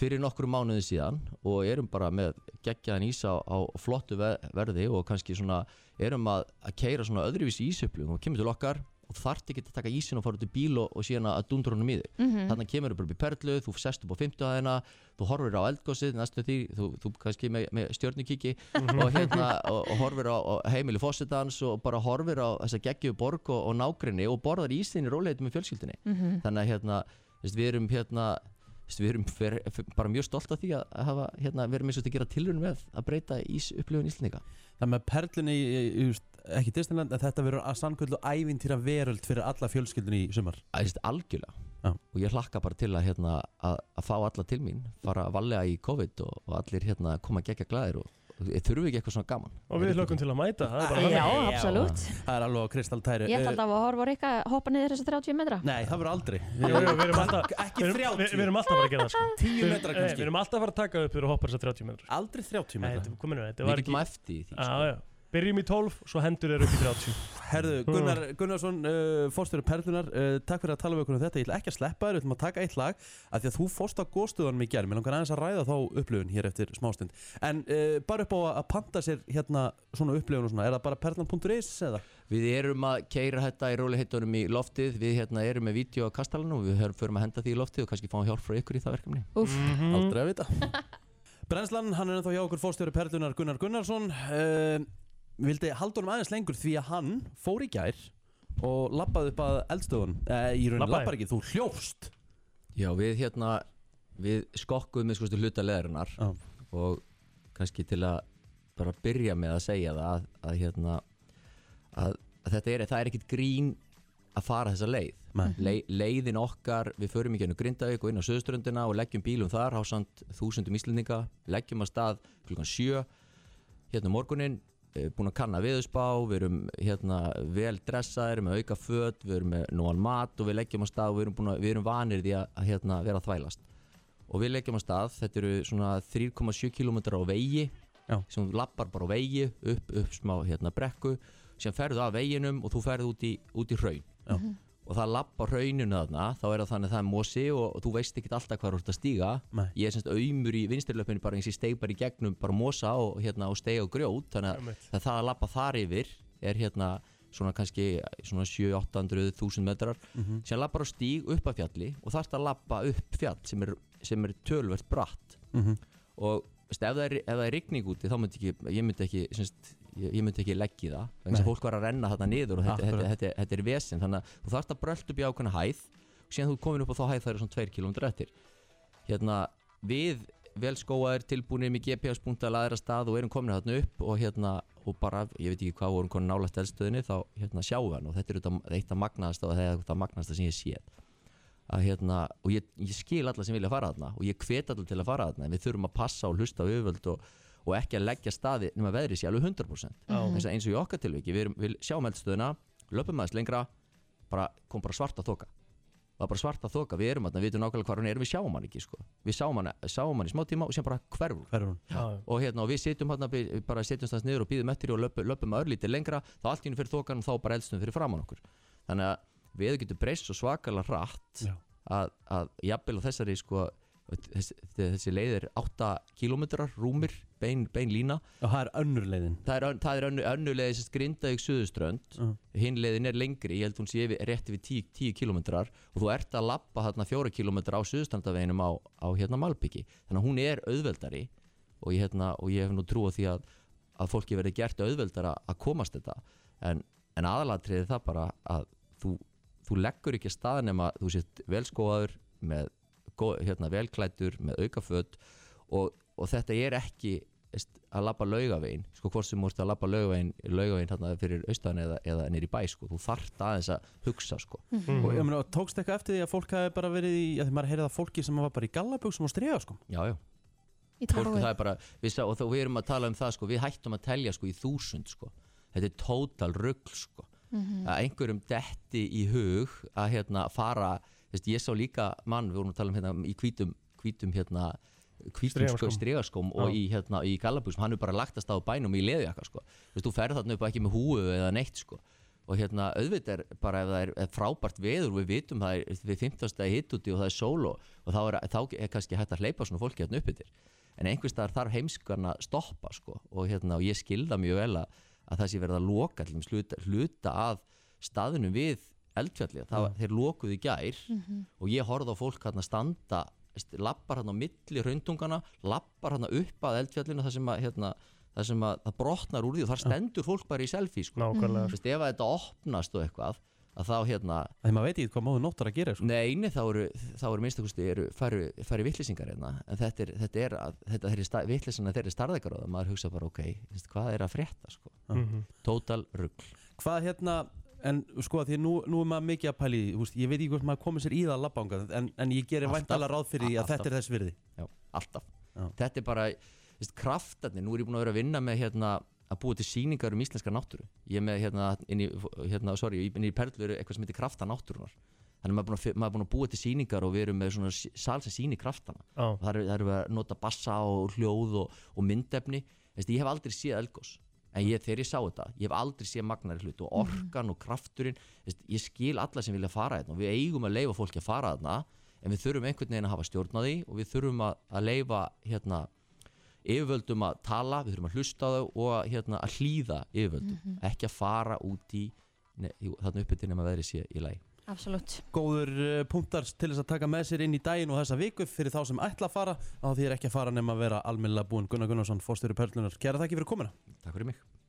fyrir nokkru mánuði síðan og erum bara með geggjaðan ís á, á flottu ve- verði og kannski svona erum að, að keira svona öðruvísi ísöflum og kemur til okkar og þarft ekki að taka ísin og fara út í bíl og, og síðan að dundur honum í þig Mhm. þannig að kemur upp upp í perlu, þú sest upp á 50 aðeina þú horfir á eldgósið næstu því, þú, þú kannski með, með stjörnukiki Mhm. og hérna og, og horfir á, á heimili fósitans og bara horfir á þessa geggju borg og, og nágrinni og borðar í sinni róleitum með fjölskyldinni Mhm. þannig að hérna, þú veist, við erum hérna þú veist, við erum fer, fer, bara mjög stolt af því að að hafa, hérna, við erum eins og þetta að gera tilrun með að breyta ís upplifun Íslendinga Það með perlunni, í- í- just, ekki Disneyland en þetta verður að sannkvöldu ævintýra veröld fyrir alla fjölskyldunni í sumar Æst, algjörlega og ég hlakka bara til að, hérna, að, að fá alla til mín fara að valega í COVID og, og allir hérna, koma gegja glæðir og, og þurfum ekki eitthvað svona gaman Og við hlökkum til að mæta það er bara Já, þannig. absolutt. Það er alveg á kristaltæri Ég ætla alltaf að horfa á Rikka hoppa niður þessa 30 metra Eh, Nei, það verður aldrei Jú, jú, við erum alltaf Ekki við 30. erum- Við við erum alltaf að fara að gera það sko 10 Við- metra eh, kannski. Við erum alltaf að fara að taka upp fyrir að hoppa þess 30 metrar Aldrei 30 metra. Kominu, sko. þetta Við var getum ekki eftir því, sko. Já, já Byrjum í 12, svo hendur þeir upp í 30 Herðu, Gunnar, Gunnarsson, uh, fórstöru Perlunar uh, Takk fyrir að tala við okkur um þetta Ég ætla ekki að sleppa þér, við ætlum að taka eitt lag af Því að þú fórst á góðstöðanum í gerð Mér langar aðeins að ræða þá upplifun hér eftir smástund En uh, bara upp á að panta sér hérna svona upplifun og svona Er það bara perlan.is eða? Við erum að keira þetta í róliheitunum í loftið Við hérna, erum með vídeo á kastalanum og við hörum- förum að henda því í loftið og kannski fáum hjálp frá ykkur í það verkefni Úff. Mhm. Aldrei að vita Brennslan, hann er ennþá hjá okkur fórstjóri Perlunar Gunnar Gunnarsson uh, Vildi halda honum aðeins lengur því að hann fór í gær og labbaði upp að eldstöðun eh, í rauninni Labbaði? labbar ekki, þú hljófst Já, við hérna við skokkuðum við skoðum hluta leðurinnar og kannski til að bara byrja með að segja það að, að hérna að, að þetta er, það er ekkit grín að fara þessa leið Nei. Le, leiðin okkar, við förum í gennum Grindavík og inn á Söðuströndina og leggjum bílum þar hásand þúsundum Íslendinga, leggjum að stað klukkan sjö hérna morgunin búin að kanna viðspá, við erum hérna vel dressaðir, með auka föt við erum með nógan mat og við leggjum að stað og við erum, búin að, við erum vanir því að, að hérna, vera að þvælast og við leggjum að stað þetta eru svona 3,7 km á vegi Já. sem þú lappar bara á vegi upp, upp smá hérna, brekku sem ferðu af veginum og þú ferðu út í, út í hraun Já. og það lappar hrauninu þarna þá er það þannig að það er mosi og, og þú veist ekkit alltaf hvað þú ert að stíga Nei. ég er semst auðmur í vinstirlöpunni bara eins og ég steig bara í gegnum bara mosa og, hérna, og steig og grjót þannig að Einmitt. það, það að lappa þar yfir er hérna svona kannski svona 700-800 þúsund metrar Mhm. sem lappar á stíg upp að fjalli og þarft að lappa upp fjall sem er, sem er tölvert bratt Mhm. og veist, ef, það er, ef það er rigning úti þá myndi ekki, ég myndi ekki semst, ég, ég myndi ekki leggja í það vegna þess að Nei. fólk var að renna þarna niður og þetta, þetta, Akkurat. þetta, þetta er vesen þannig að þú þarft að brölt upp í ákveðna hæð og síðan þú ert komin upp á þá hæð það eru svona 2 km eftir hérna við vel skóaðir tilbúinir með GPS búnt að laðra stað og erum komin þarna upp og hérna og bara, ég veit ekki hvað vorum komin nálægt eldstöðinni þá hérna sjáum við hann og þetta er auðvitað eitt að magnaðast og það er þetta magnaðast sem ég séð að hérna, og ég, ég skil alla sem vilja fara þarna og ég hvet alla til að fara þarna en við þurfum að passa og hlusta á yfirvöld og, og ekki að leggja staði nema veðrið sé alveg 100% Já. eins, og, eins og í okkar tilviki, við, erum, við sjáum eldstöðuna löpum aðeins lengra, bara, kom bara svarta þoka það var bara svarta þoka, við erum þarna, við veitum nákvæmlega hvað hún er við sjáum hann ekki, sko, við sjáum hann, sjáum hann í smá tíma og sem bara hverfum, hverfum. Já. og hérna, og við sitjum hann bara setjum stans niður og býðum eftir því og löpum, löpum örlítið lengra, þá allt í einu fyrir þokan og þá bara eldstum fyrir framann okkur þannig að við getum breyst svo svakalega rætt Já. að, að jafnvel á þessari sko þessi, þessi leið er 8 kilometrar rúmir, bein, bein lína og það er önnur leiðin það er, ön- það er önnu, önnu leiði sem grindaðið suðuströnd Mhm. hinn leiðin er lengri, ég held hún sé yfir, rétt yfir 10, 10 kilometrar og þú ert að lappa þarna 4 kilometra á suðuströndaveginum á, á hérna Malbyggi þannig að hún er auðveldari og ég, hérna, og ég hef nú trú á því að, að fólki verði gert auðveldara að komast þetta en, en aðalatriði það bara að þú, þú leggur ekki af stað nema þú sért velskóðaður með gó- hérna, velklættur með aukaföt og, og þetta er ekki veist, að labba laugavegin sko hvort sem þú ert að labba laugavegin, laugavegin hérna, fyrir austan eða, eða nýri bæ sko. þú þarft aðeins að hugsa sko. mm. og ég meina, tókst eitthvað eftir því að fólk hafi bara verið í, að því maður heyrði að fólki sem var bara í gallabugsum og strega sko já, já Í fólk, Tarfói. það er bara, við, sá- og þá, við erum að tala um það sko, við hættum að telja sko, í þúsund sko. þetta er tótal rugl sko. Mhm. að einhverjum detti í hug að hérna, fara Þvist, ég sá líka mann, við vorum að tala um hérna, í hvítum, hvítum hérna, hvítum sko, Strigaskóm. stregaskóm og Já. í, hérna, í gallabúsum, hann er bara lagtast á bænum í leðjaka sko. Þvist, þú ferð þarna upp ekki með húu eða neitt sko. og hérna, auðvitað er bara ef það er, er frábært veður, við vitum það er við 15. hitt úti og það er sólo og þá er, þá er kannski hægt að hleypa svona fólki hérna upp yfir en einhvers staðar þarf heimskan að stoppa sko. og, hérna, og ég skilða mjög vel að, að það sé verið að loka allum sluta, hluta að staðinu við eldfjallið, það, þeir lokuðu í gær Mhm. og ég horfði á fólk hérna standa veist, lappar hérna á milli raundungana lappar hérna upp að eldfjallinu þar sem að, hérna, þar sem að það brotnar úr því og þar stendur fólk bara í selfie sko. Nákvæmlega. Þú veist, ef að þetta opnast og eitthvað að þá hérna Þegar maður veit ekki hvað móðu nóttar að gera sko. Neini, þá eru, þá eru minnstakosti eru, færu, færu vittlisingar hérna en þetta er, þetta er að, þetta þeirri sta, vittlisina þeirri starðekar á það, maður hugsa bara ok þú veist, hvað er að frétta sko Mhm. total rugg hvað hérna, en sko að því nú, nú er maður mikið að pæli, húst, ég veit ekki hvort maður komið sér í það að labba ánga, en, en ég gerir væntalega ráð fyrir því að þetta er þess virði Já, alltaf Þetta er bara, veist, kraftarnir Nú er ég búin að vera að vinna með hérna að búa til sýningar um íslenska náttúru Ég er með hérna, inn í, hérna sorry, inn í perlu eru eitthvað sem heitir krafta náttúrunar Þannig að maður er búin að, fi- maður er búin að búa til sýningar og við erum með svona sí- sal sem sýnir kraftana Já. og það eru er við að nota bassa og hljóð og, og myndefni Veist, Ég hef aldrei séð elgós En ég, þegar ég sá þetta, ég hef aldrei séð magnari hlut og orkan og krafturinn, veist, ég skil alla sem vilja fara þarna og við eigum að leifa fólki að fara þarna en við þurfum einhvern veginn að hafa stjórn á því og við þurfum að, að leifa hérna, yfirvöldum að tala, við þurfum að hlusta á þau og að, hérna, að hlýða yfirvöldum, Mhm. ekki að fara út í ne, jú, þarna uppið til nema veðri sé í lagi. Absolutt. góður eh, punktar til þess að taka með sér inn í daginn og þessa viku fyrir þá sem ætla að fara á því er ekki að fara nema að vera almennilega búin Gunnar Gunnarsson, fórstjóri Perlunar, kæra þakki fyrir komuna Takk fyrir mig